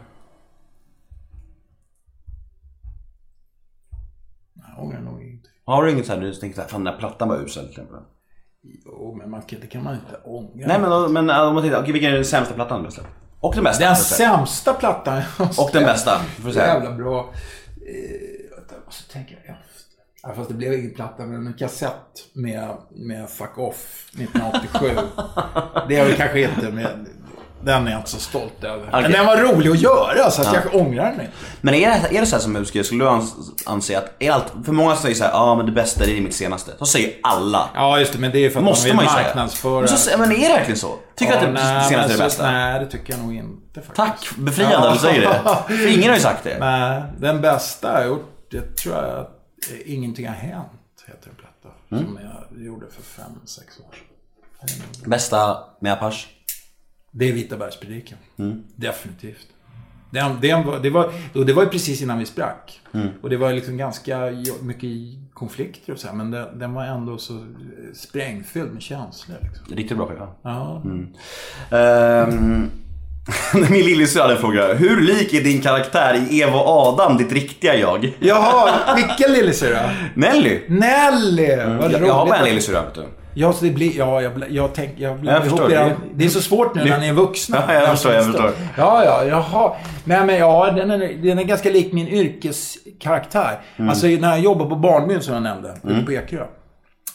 S1: Jag ångrar nog inte.
S2: Har du inget så här du tänker så här, fan den där plattan var usel till exempel?
S1: Jo, men man, kan- det kan man inte ångra.
S2: Nej men, men om man tittar, okej vilken är den sämsta plattan du släppt? Och den bästa.
S1: Den
S2: får du säga.
S1: sämsta plattan jag har
S2: Och den bästa, får du säga.
S1: Jävla bra. Eh, vänta, och så tänker jag efter. Ja, fast det blev ingen platta, men en kassett med, med Fuck Off 1987.
S2: <laughs>
S1: det är väl kanske inte, men den är jag inte så stolt över.
S2: Okej.
S1: Men den var rolig att göra, så att
S2: Ja.
S1: jag ångrar den inte.
S2: Men är det, är det så här som musiker, skulle du ans- anse att, är allt, för många säger så här, ja ah, men det bästa det är mitt senaste. Så säger alla.
S1: Ja, just det, men det är för att
S2: Måste
S1: man
S2: man
S1: vill
S2: ju säga.
S1: marknadsföra.
S2: Men, så, men är det verkligen så? Tycker du
S1: Ja,
S2: att det
S1: nej,
S2: senaste
S1: men
S2: är det
S1: så-
S2: bästa?
S1: Nej, det tycker jag nog inte faktiskt.
S2: Tack, befriande att du säger det. För ingen har ju sagt det.
S1: <laughs> Nej, den bästa jag gjort, det tror jag att eh, Ingenting har hänt, heter en platta.
S2: Mm.
S1: Som jag gjorde för fem, sex år sedan.
S2: Bästa med Apache?
S1: Det är Vita bergspredikan.
S2: Mm.
S1: Definitivt. Den, den var, det, var, och det var ju precis innan vi sprack.
S2: Mm.
S1: Och det var liksom ganska jo- mycket konflikter och så här, men den, den var ändå så eh, sprängfylld med känslor. Liksom.
S2: Riktigt bra skiva.
S1: Ja.
S2: Mm. Ehm, <laughs> min lillasyrra hade en fråga. Hur lik är din karaktär i Eva och Adam, ditt riktiga jag?
S1: Jaha, vilken lillasyrra?
S2: Nelly!
S1: Nelly! Vad
S2: Jag,
S1: roligt.
S2: jag har bara en lillasyrra vet du.
S1: Ja, så det blir, ja, jag, bla- jag tänk, jag blir
S2: Jag förstår.
S1: det. det är så svårt nu
S2: Det-
S1: när ni är vuxna.
S2: Ja, jag förstår, jag förstår.
S1: Ja, ja, jaha. Nej, men ja, den är, den är ganska lik min yrkeskaraktär.
S2: Mm.
S1: Alltså, när jag jobbade på barnbyn som jag nämnde, ute
S2: Mm.
S1: på Ekerö.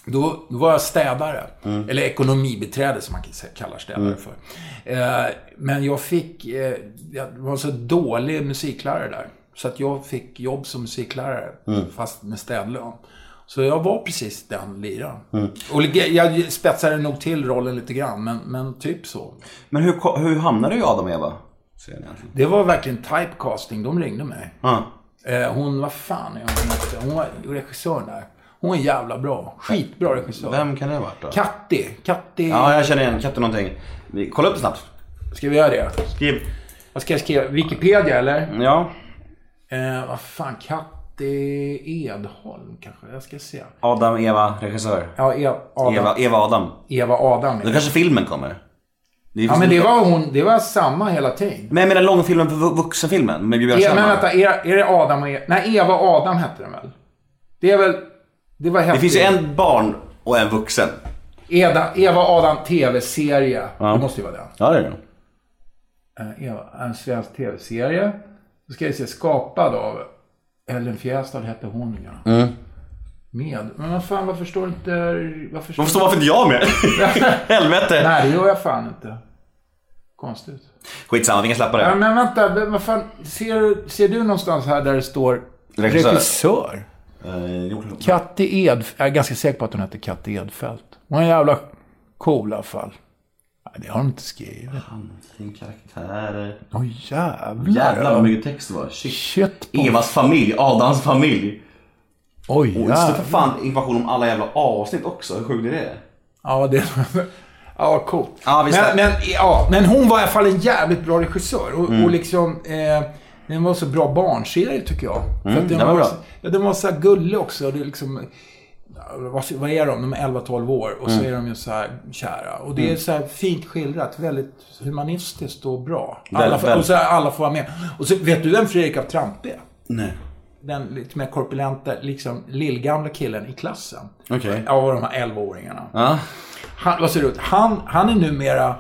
S1: Då, då var jag städare. Eller ekonomibiträde som man kan sä- kallar städare
S2: Mm.
S1: för. Eh, men jag fick... Eh, jag var en så dålig musiklärare där. Så att jag fick jobb som musiklärare,
S2: Mm.
S1: fast med städlön. Så jag var precis den liran.
S2: Mm.
S1: Och lite- jag spetsade nog till rollen lite grann, men, men typ så.
S2: Men hur, ko- hur hamnade du i Adam och Eva? Säger ni alltid.
S1: Det var verkligen typecasting. De ringde mig.
S2: Ja.
S1: Eh, hon, vad fan är hon hette? Hon var regissören där. Hon är jävla bra. Skitbra regissör.
S2: Vem kan det ha varit då?
S1: Katti. Katti...
S2: Ja, jag känner igen Katte någonting. Vi- Kolla upp det snabbt.
S1: Ska vi göra det?
S2: Skriv.
S1: Vad ska jag skriva? Wikipedia eller?
S2: Ja.
S1: Eh, vad fan, Katti Edholm kanske? Jag ska se.
S2: Adam, Eva, regissör.
S1: Ja, Eva, Adam.
S2: Eva, Eva Adam.
S1: Eva Adam.
S2: Då kanske filmen kommer. Det
S1: Ja, men det var hon. Det var samma hela tiden.
S2: Men jag menar långfilmen, vu- vuxenfilmen med Björn
S1: E, men
S2: Kjellman.
S1: vänta, är, är det Adam och Eva? Nej, Eva och Adam hette den väl? Det är väl... Det var
S2: Det
S1: häftigt.
S2: finns ju en barn och en vuxen.
S1: Eda, Eva och Adam TV-serie.
S2: Ja.
S1: Det måste ju vara den.
S2: Ja, det är det.
S1: Eh, Eva, en svensk TV-serie. Då ska vi se, skapad av Ellen Fjästad hette hon ja.
S2: Mm.
S1: Med. Men vad fan, varför står inte... Varför <laughs>
S2: Varför står varför inte jag med? Helvete.
S1: Nej, det gör jag fan inte. Konstigt.
S2: Skitsamma, vi kan släppa det.
S1: Ja, men vänta, v- vad fan, ser, ser du någonstans här där det står regissör?
S2: Eh, jo, klart.
S1: Katte Edf... Jag är ganska säker på att hon heter Katte Edfeldt. Hon är jävla cool i alla fall. Nej, det har de inte skrivit.
S2: Sin karaktär.
S1: Åh jävlar.
S2: Jävlar vad mycket text det var. Shit.
S1: Shit.
S2: Evas familj, Adams familj.
S1: Oj
S2: Och det står för fan information om alla jävla avsnitt också. Hur sjukt är det?
S1: Ja, det... <laughs> Ja, coolt.
S2: Ja, visst är-
S1: men, men, ja, men hon var i alla fall en jävligt bra regissör. Och,
S2: Mm.
S1: och liksom... Eh, den var så bra barnserie, tycker jag.
S2: Mm,
S1: att
S2: den var bra.
S1: Så, ja, den var så här gullig också. Det är liksom... ja, Vad, vad är de? De är 11-12 år och så
S2: Mm.
S1: är de ju så här kära. Och det är
S2: Mm.
S1: så här fint skildrat. Väldigt humanistiskt och bra. Alla
S2: Väldigt,
S1: får, och
S2: väldigt.
S1: så här, alla får vara med. Och så vet du vem Fredrik av Trampe är?
S2: Nej.
S1: Den lite mer korpulenta, liksom lillgamla killen i klassen.
S2: Okej.
S1: Av de här 11-åringarna.
S2: Ja.
S1: Han, vad ser det ut? Han, han är numera...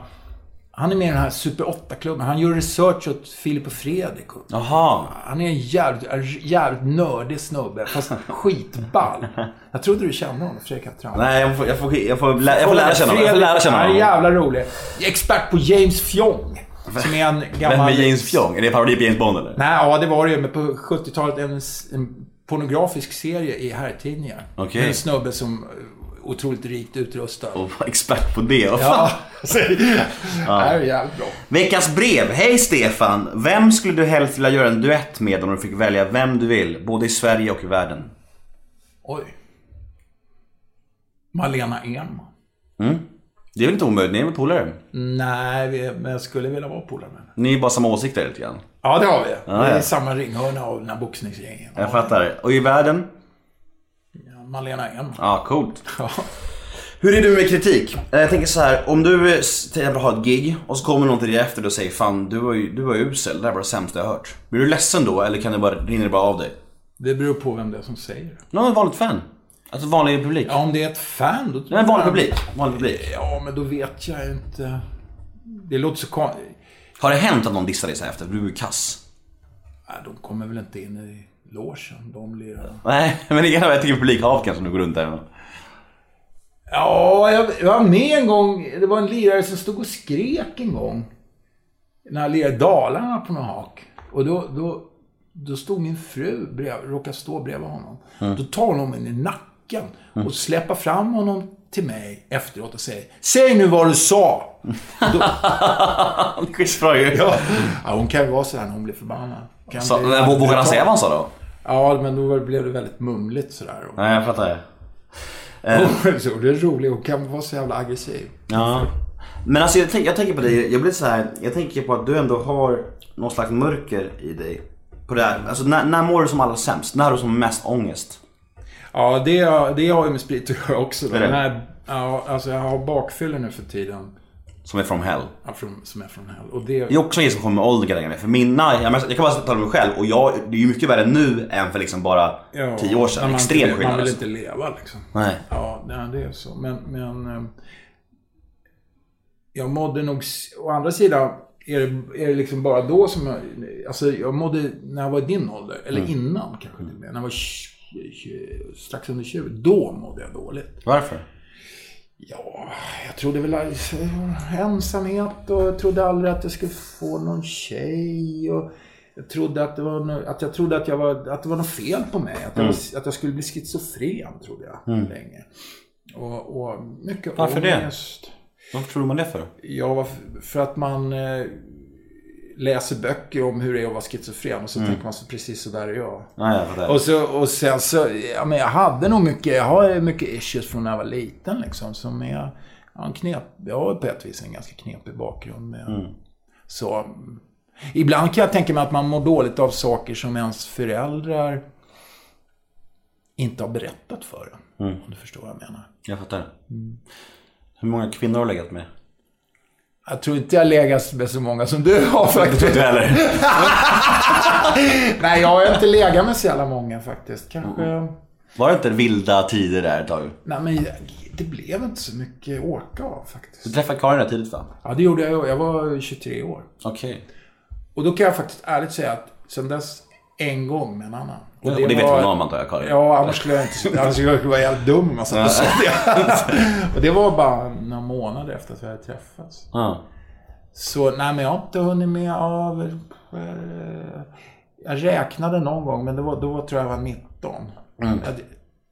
S1: Han är med i den här Super 8-klubben. Han gör research åt Filip och Fredrik.
S2: Jaha.
S1: Han är en jävligt, en jävligt nördig snubbe, fast skitball. Jag trodde du kände honom, Fredrik Attram.
S2: Nej, jag får, jag får, jag får, lä- jag får lära känna honom. Jag får lära känna
S1: Han är
S2: honom.
S1: jävla rolig. Expert på James Fjong. Som är en gammal...
S2: Vem är James Fjong? Är det en parodi på James Bond eller?
S1: Nej, ja det var det ju. Men på 70-talet en, s- en pornografisk serie i herrtidningar.
S2: Okej.
S1: Med en snubbe som eh, otroligt rikt utrustad.
S2: Och var expert på det. Vad
S1: Ja,
S2: <laughs> fan?
S1: alltså, det här är jävligt bra.
S2: Veckans brev. Hej Stefan! Vem skulle du helst vilja göra en duett med om du fick välja vem du vill? Både i Sverige och i världen.
S1: Oj. Malena Ehm. Ernman.
S2: Mm. Det är väl inte omöjligt? Ni är väl polare?
S1: Nej, vi- men jag skulle vilja vara polare med henne.
S2: Ni är bara samma åsikter lite grann.
S1: Ja, det har vi.
S2: Ja,
S1: Vi är
S2: ja.
S1: i samma ringhörna av den här boxningsgängen.
S2: Jag fattar. Och i världen?
S1: Malena Ehm. Ernman.
S2: Ja, coolt. Hur är du med kritik? Eh, Jag tänker så här, om du eh, s- till exempel har ett gig och så kommer någon till dig efter och säger Fan, du var ju du var ju usel, det här var det sämsta jag hört. Blir du ledsen då eller kan det bara, rinner det bara av dig?
S1: Det beror på vem det är som säger det.
S2: Någon vanligt fan. Alltså vanlig publik.
S1: Ja, om det är ett fan då...
S2: Nej, vanlig publik. Vanlig publik.
S1: Ja, men då vet jag inte. Det låter så konstigt.
S2: Har det hänt att någon dissar dig så här efter? Du är ju kass.
S1: Nej, de kommer väl inte in i logen, de lirarna.
S2: Nej, men det kan jag tycker publikhavet kanske om du går runt där.
S1: Ja, jag, jag var med en gång. Det var en lirare som stod och skrek en gång. När han lirade i Dalarna på någon hak. Och då, då, då stod min fru, brev, råkade stå bredvid honom.
S2: Mm.
S1: Då tar hon honom i nacken
S2: Mm.
S1: och släpper fram honom till mig efteråt och säger Säg nu vad du sa!
S2: <laughs> Skitbra ju.
S1: Ja. ja, hon kan ju vara sådär när hon blir förbannad. Kan
S2: Så,
S1: bli-
S2: men vågar han säga vad han sa då?
S1: Ja, men då blev det väldigt mumligt sådär.
S2: Nej, jag fattar. Eh,
S1: Och, <laughs> så, det är roligt, hon kan vara så jävla aggressiv.
S2: Ja. Men alltså jag, tänk, jag tänker på dig, jag blir så här, jag tänker på att du ändå har någon slags mörker i dig. På det här. Alltså när, när mår du som allra sämst? När har du som mest ångest?
S1: Ja, det, det har ju med sprit att göra också. Då.
S2: Är det?
S1: Nej, ja, alltså jag har bakfyllor nu för tiden.
S2: Som är from hell.
S1: Ja, från, som är från hell. Och det...
S2: Det är också en grej som kommer med åldern kan jag tänka mig. För mina, jag, jag kan bara tala om mig själv och jag, det är ju mycket värre nu än för liksom bara
S1: Ja,
S2: tio år
S1: när
S2: sedan.
S1: man
S2: Extrem
S1: inte-
S2: skillnad.
S1: Man vill
S2: alltså.
S1: inte leva liksom.
S2: Nej.
S1: Ja, nej, det är så. Men, men eh, jag mådde nog... s- Å andra sidan är det, är det liksom bara då som jag... Alltså jag mådde när jag var i din ålder, eller
S2: Mm.
S1: innan kanske till och med. När jag var tj- tj- strax under 20. Då mådde jag dåligt.
S2: Varför?
S1: Ja, jag trodde väl att- ensamhet och jag trodde aldrig att jag skulle få någon tjej. Och jag trodde att det var, nå- att jag trodde att jag var, att det var något fel på mig. Att jag,
S2: Mm.
S1: var- att jag skulle bli schizofren, trodde jag
S2: Mm.
S1: länge. Och, och mycket
S2: Varför det?
S1: ångest.
S2: Varför tror man det för?
S1: Ja, varf- för att man eh, läser böcker om hur det är att vara schizofren och så
S2: Mm.
S1: tänker man så precis så där är jag.
S2: Nej, jag fattar.
S1: och, så, och sen så, ja men jag hade nog mycket, jag har ju mycket issues från när jag var liten liksom. Som är, jag har en knep, jag har på ett vis en ganska knepig bakgrund med.
S2: Mm.
S1: Så, mm, ibland kan jag tänka mig att man mår dåligt av saker som ens föräldrar inte har berättat för en.
S2: Mm.
S1: Om du förstår vad jag menar.
S2: Jag fattar. Hur många kvinnor har du legat med?
S1: Jag tror inte jag legat med så många som du har <laughs> faktiskt.
S2: Det tror inte jag heller.
S1: Nej, jag har inte legat med så jävla många faktiskt. Kanske...
S2: Mm. Var det inte vilda tider där ett tag?
S1: Nej, men jag- det blev inte så mycket att åka av faktiskt.
S2: Du träffade Karin där tidigt va?
S1: Ja, det gjorde jag. Jag var 23 år.
S2: Okej.
S1: Och då kan jag faktiskt ärligt säga att sen dess en gång med en annan.
S2: Och det vet
S1: var-
S2: hon om antar jag, Karin?
S1: Ja, annars skulle jag inte... Annars skulle jag vara jävligt dum om jag satt och sa det. Och det var bara några månader efter att vi hade träffats.
S2: <laughs> Ja.
S1: Så nej, men jag har inte hunnit med av... eh, Jag räknade någon gång, men det var, då tror jag jag var 19.
S2: Mm.
S1: Jag,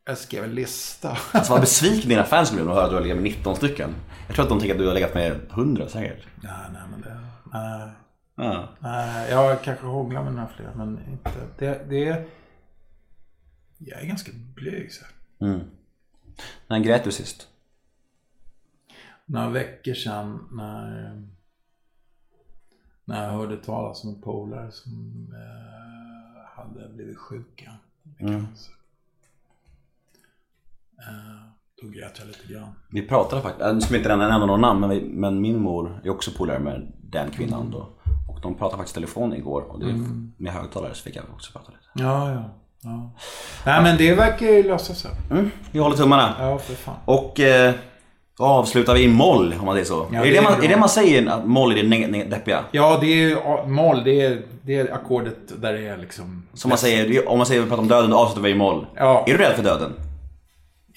S1: jag skrev en lista.
S2: Alltså vad besvikna dina fans blev när de hörde att du har legat med 19 stycken. Jag tror att de tänker att du har legat med 100 säkert.
S1: Nej, nej, men det... Nej.
S2: Ja.
S1: Nej, jag kanske hånglar med några fler, men inte... Det, det är... Jag är ganska blyg så. här.
S2: Mm. När grät du sist?
S1: Några veckor sedan när... När jag hörde talas om en polare som eh, hade blivit sjuka. Mm. Eh, då grät jag lite grann.
S2: Vi pratade faktiskt, nu ska vi inte nämna nämna några namn men, vi, men min mor är också polare med den kvinnan då. Och de pratade faktiskt telefon igår och det,
S1: Mm.
S2: med högtalare så fick jag också prata lite.
S1: Ja, ja. ja. Nej, men det verkar ju lösa sig.
S2: Mm, vi håller tummarna.
S1: Ja, för fan.
S2: Och eh, då avslutar vi i moll om man säger så.
S1: Ja,
S2: är, det
S1: det
S2: det
S1: är
S2: man,
S1: bra.
S2: är det man säger att moll är det neg- neg- deppiga?
S1: Ja, det är ju a- moll. Det är, det är ackordet där det är liksom...
S2: Som man säger, det är- om man säger att vi pratar om döden då avslutar vi i moll. Är du rädd för döden?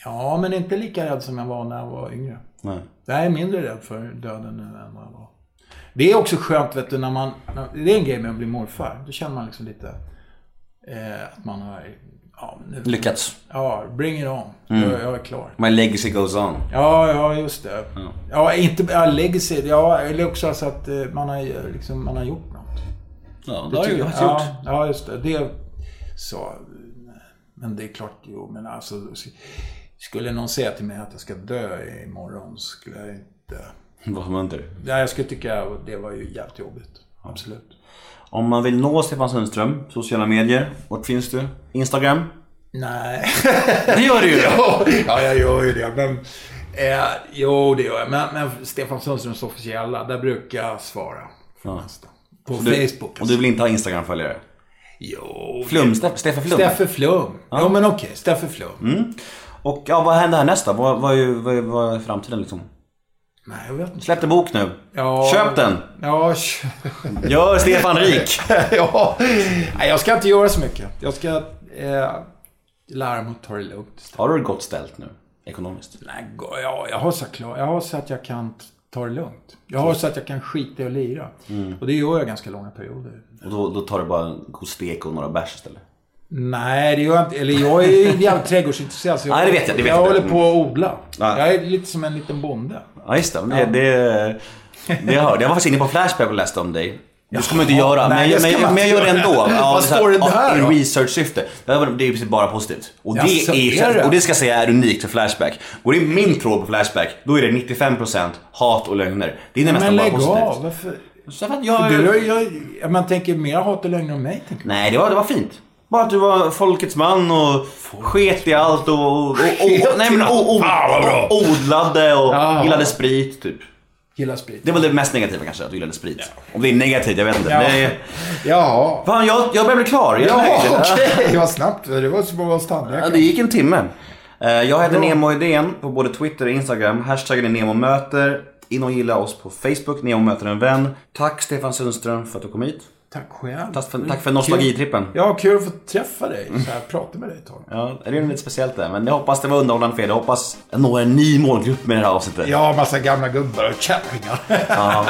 S1: Ja, men inte lika rädd som jag var när jag var yngre.
S2: Nej.
S1: Jag är mindre rädd för döden nu än vad jag var. Det är också skönt, vet du, när man... när- Det är en grej med att bli morfar. Då känner man liksom lite eh, att man har... Ja, nu,
S2: Lyckats.
S1: Ja, bring it on.
S2: Mm.
S1: Jag, jag är klar.
S2: My legacy goes on.
S1: Ja, ja, just det.
S2: Ja.
S1: Ja, inte... Ja, legacy. Ja, eller också alltså att eh, man har, eh, liksom, man har gjort något.
S2: Ja,
S1: Det tycker-
S2: faktiskt gjort.
S1: Ja, ja, just det. Det så. Men det är klart, jo men alltså. Skulle någon säga till mig att jag ska dö imorgon skulle jag inte...
S2: Vad munter.
S1: Nej, jag skulle tycka att det var ju jävligt jobbigt. Absolut.
S2: Om man vill nå Stefan Sundström, sociala medier, vart finns du? Instagram?
S1: Nej. <laughs>
S2: Det gör du ju.
S1: ja, ja, jag gör ju det. Men, eh, jo, det gör jag. Men, men Stefan Sundströms officiella, där brukar jag svara.
S2: Ja.
S1: På
S2: Och
S1: Facebook.
S2: Du, och du vill inte ha Instagram-följare?
S1: Jo.
S2: Flum, Steff- Steffe Flum?
S1: Steffe Flum. Ja, men okej. Steffe Flum.
S2: Mm. Och ja, vad händer här nästa? Vad, vad, är, ju- vad, är, vad är framtiden liksom?
S1: Nej, jag vet inte.
S2: Släpp en bok nu.
S1: Ja.
S2: Köp den.
S1: Ja, kö-
S2: Gör Stefan rik.
S1: ja. Nej, jag ska inte göra så mycket. Jag ska eh, lära mig att ta det lugnt.
S2: Har du det gott ställt nu? Ekonomiskt?
S1: Nej, go- ja, jag, har så klar, jag har så att jag kan t- ta det lugnt. Jag har så att jag kan skita i att lira.
S2: Mm.
S1: Och det gör jag ganska långa perioder.
S2: Och då, då tar du bara en god stek och några bärs istället?
S1: Nej, det gör jag inte. Eller jag är ju jävligt trädgårdsintresserad. så
S2: <laughs> Nej, det vet jag, det vet
S1: jag
S2: jag.
S1: håller på att
S2: Mm.
S1: odla.
S2: Ja.
S1: Jag är lite som en liten bonde.
S2: Ja, just det. Men Det, det, det jag hörde. Jag var faktiskt inne på Flashback och läste om dig. Det ska man ju inte
S1: Jaha,
S2: göra,
S1: nej,
S2: men,
S1: det
S2: jag-
S1: ska
S2: men,
S1: man
S2: men jag
S1: inte
S2: gör det
S1: göra.
S2: ändå.
S1: Vad
S2: men så här,
S1: står det där
S2: ja,
S1: då?
S2: I research-syfte. Det här var- det är ju precis bara positivt. Och det,
S1: Jaså,
S2: är,
S1: är det?
S2: och det ska jag säga är unikt för Flashback. Och det är min tråd på Flashback, då är det 95% hat och lögner. Det är nästan
S1: Men
S2: bara
S1: lägg
S2: positivt.
S1: av. Varför?
S2: jag-
S1: Du, jag, jag, jag, man tänker mer hat och lögner om mig. tänker
S2: Nej, det var, det var fint. Bara att du var folkets man och sket i allt och, och, och, och nej, men, och, och,
S1: Fan, vad bra.
S2: och odlade och
S1: Ja.
S2: gillade sprit typ.
S1: Gillar sprit.
S2: <laughs> Det var det mest negativa kanske, att du gillade sprit. Om det är negativt, jag vet inte.
S1: Ja.
S2: Nej.
S1: Jaha.
S2: Fan, jag, jag börjar bli klar. Jag är <laughs>
S1: Ja,
S2: nöjd.
S1: okej. Vad snabbt. <laughs> Det var som att vara hos
S2: Ja,
S1: tandläkaren.
S2: det gick en timme. Eh, Jag heter
S1: Bra.
S2: Nemo Idén på både Twitter och Instagram. Hashtaggen är Nemo Möter. In och gilla oss på Facebook, Nemo Möter en vän. Tack Stefan Sundström för att du kom hit.
S1: Tack själv.
S2: Tack för, tack för nostalgitrippen.
S1: Mm, Ja, kul att få träffa dig. Så här, prata med dig ett tag.
S2: Ja, det är ju lite speciellt där, men jag hoppas det var underhållande för er. Jag hoppas jag når en ny målgrupp med det här avsnittet.
S1: Ja, massa gamla gubbar och kärringar.
S2: Ja.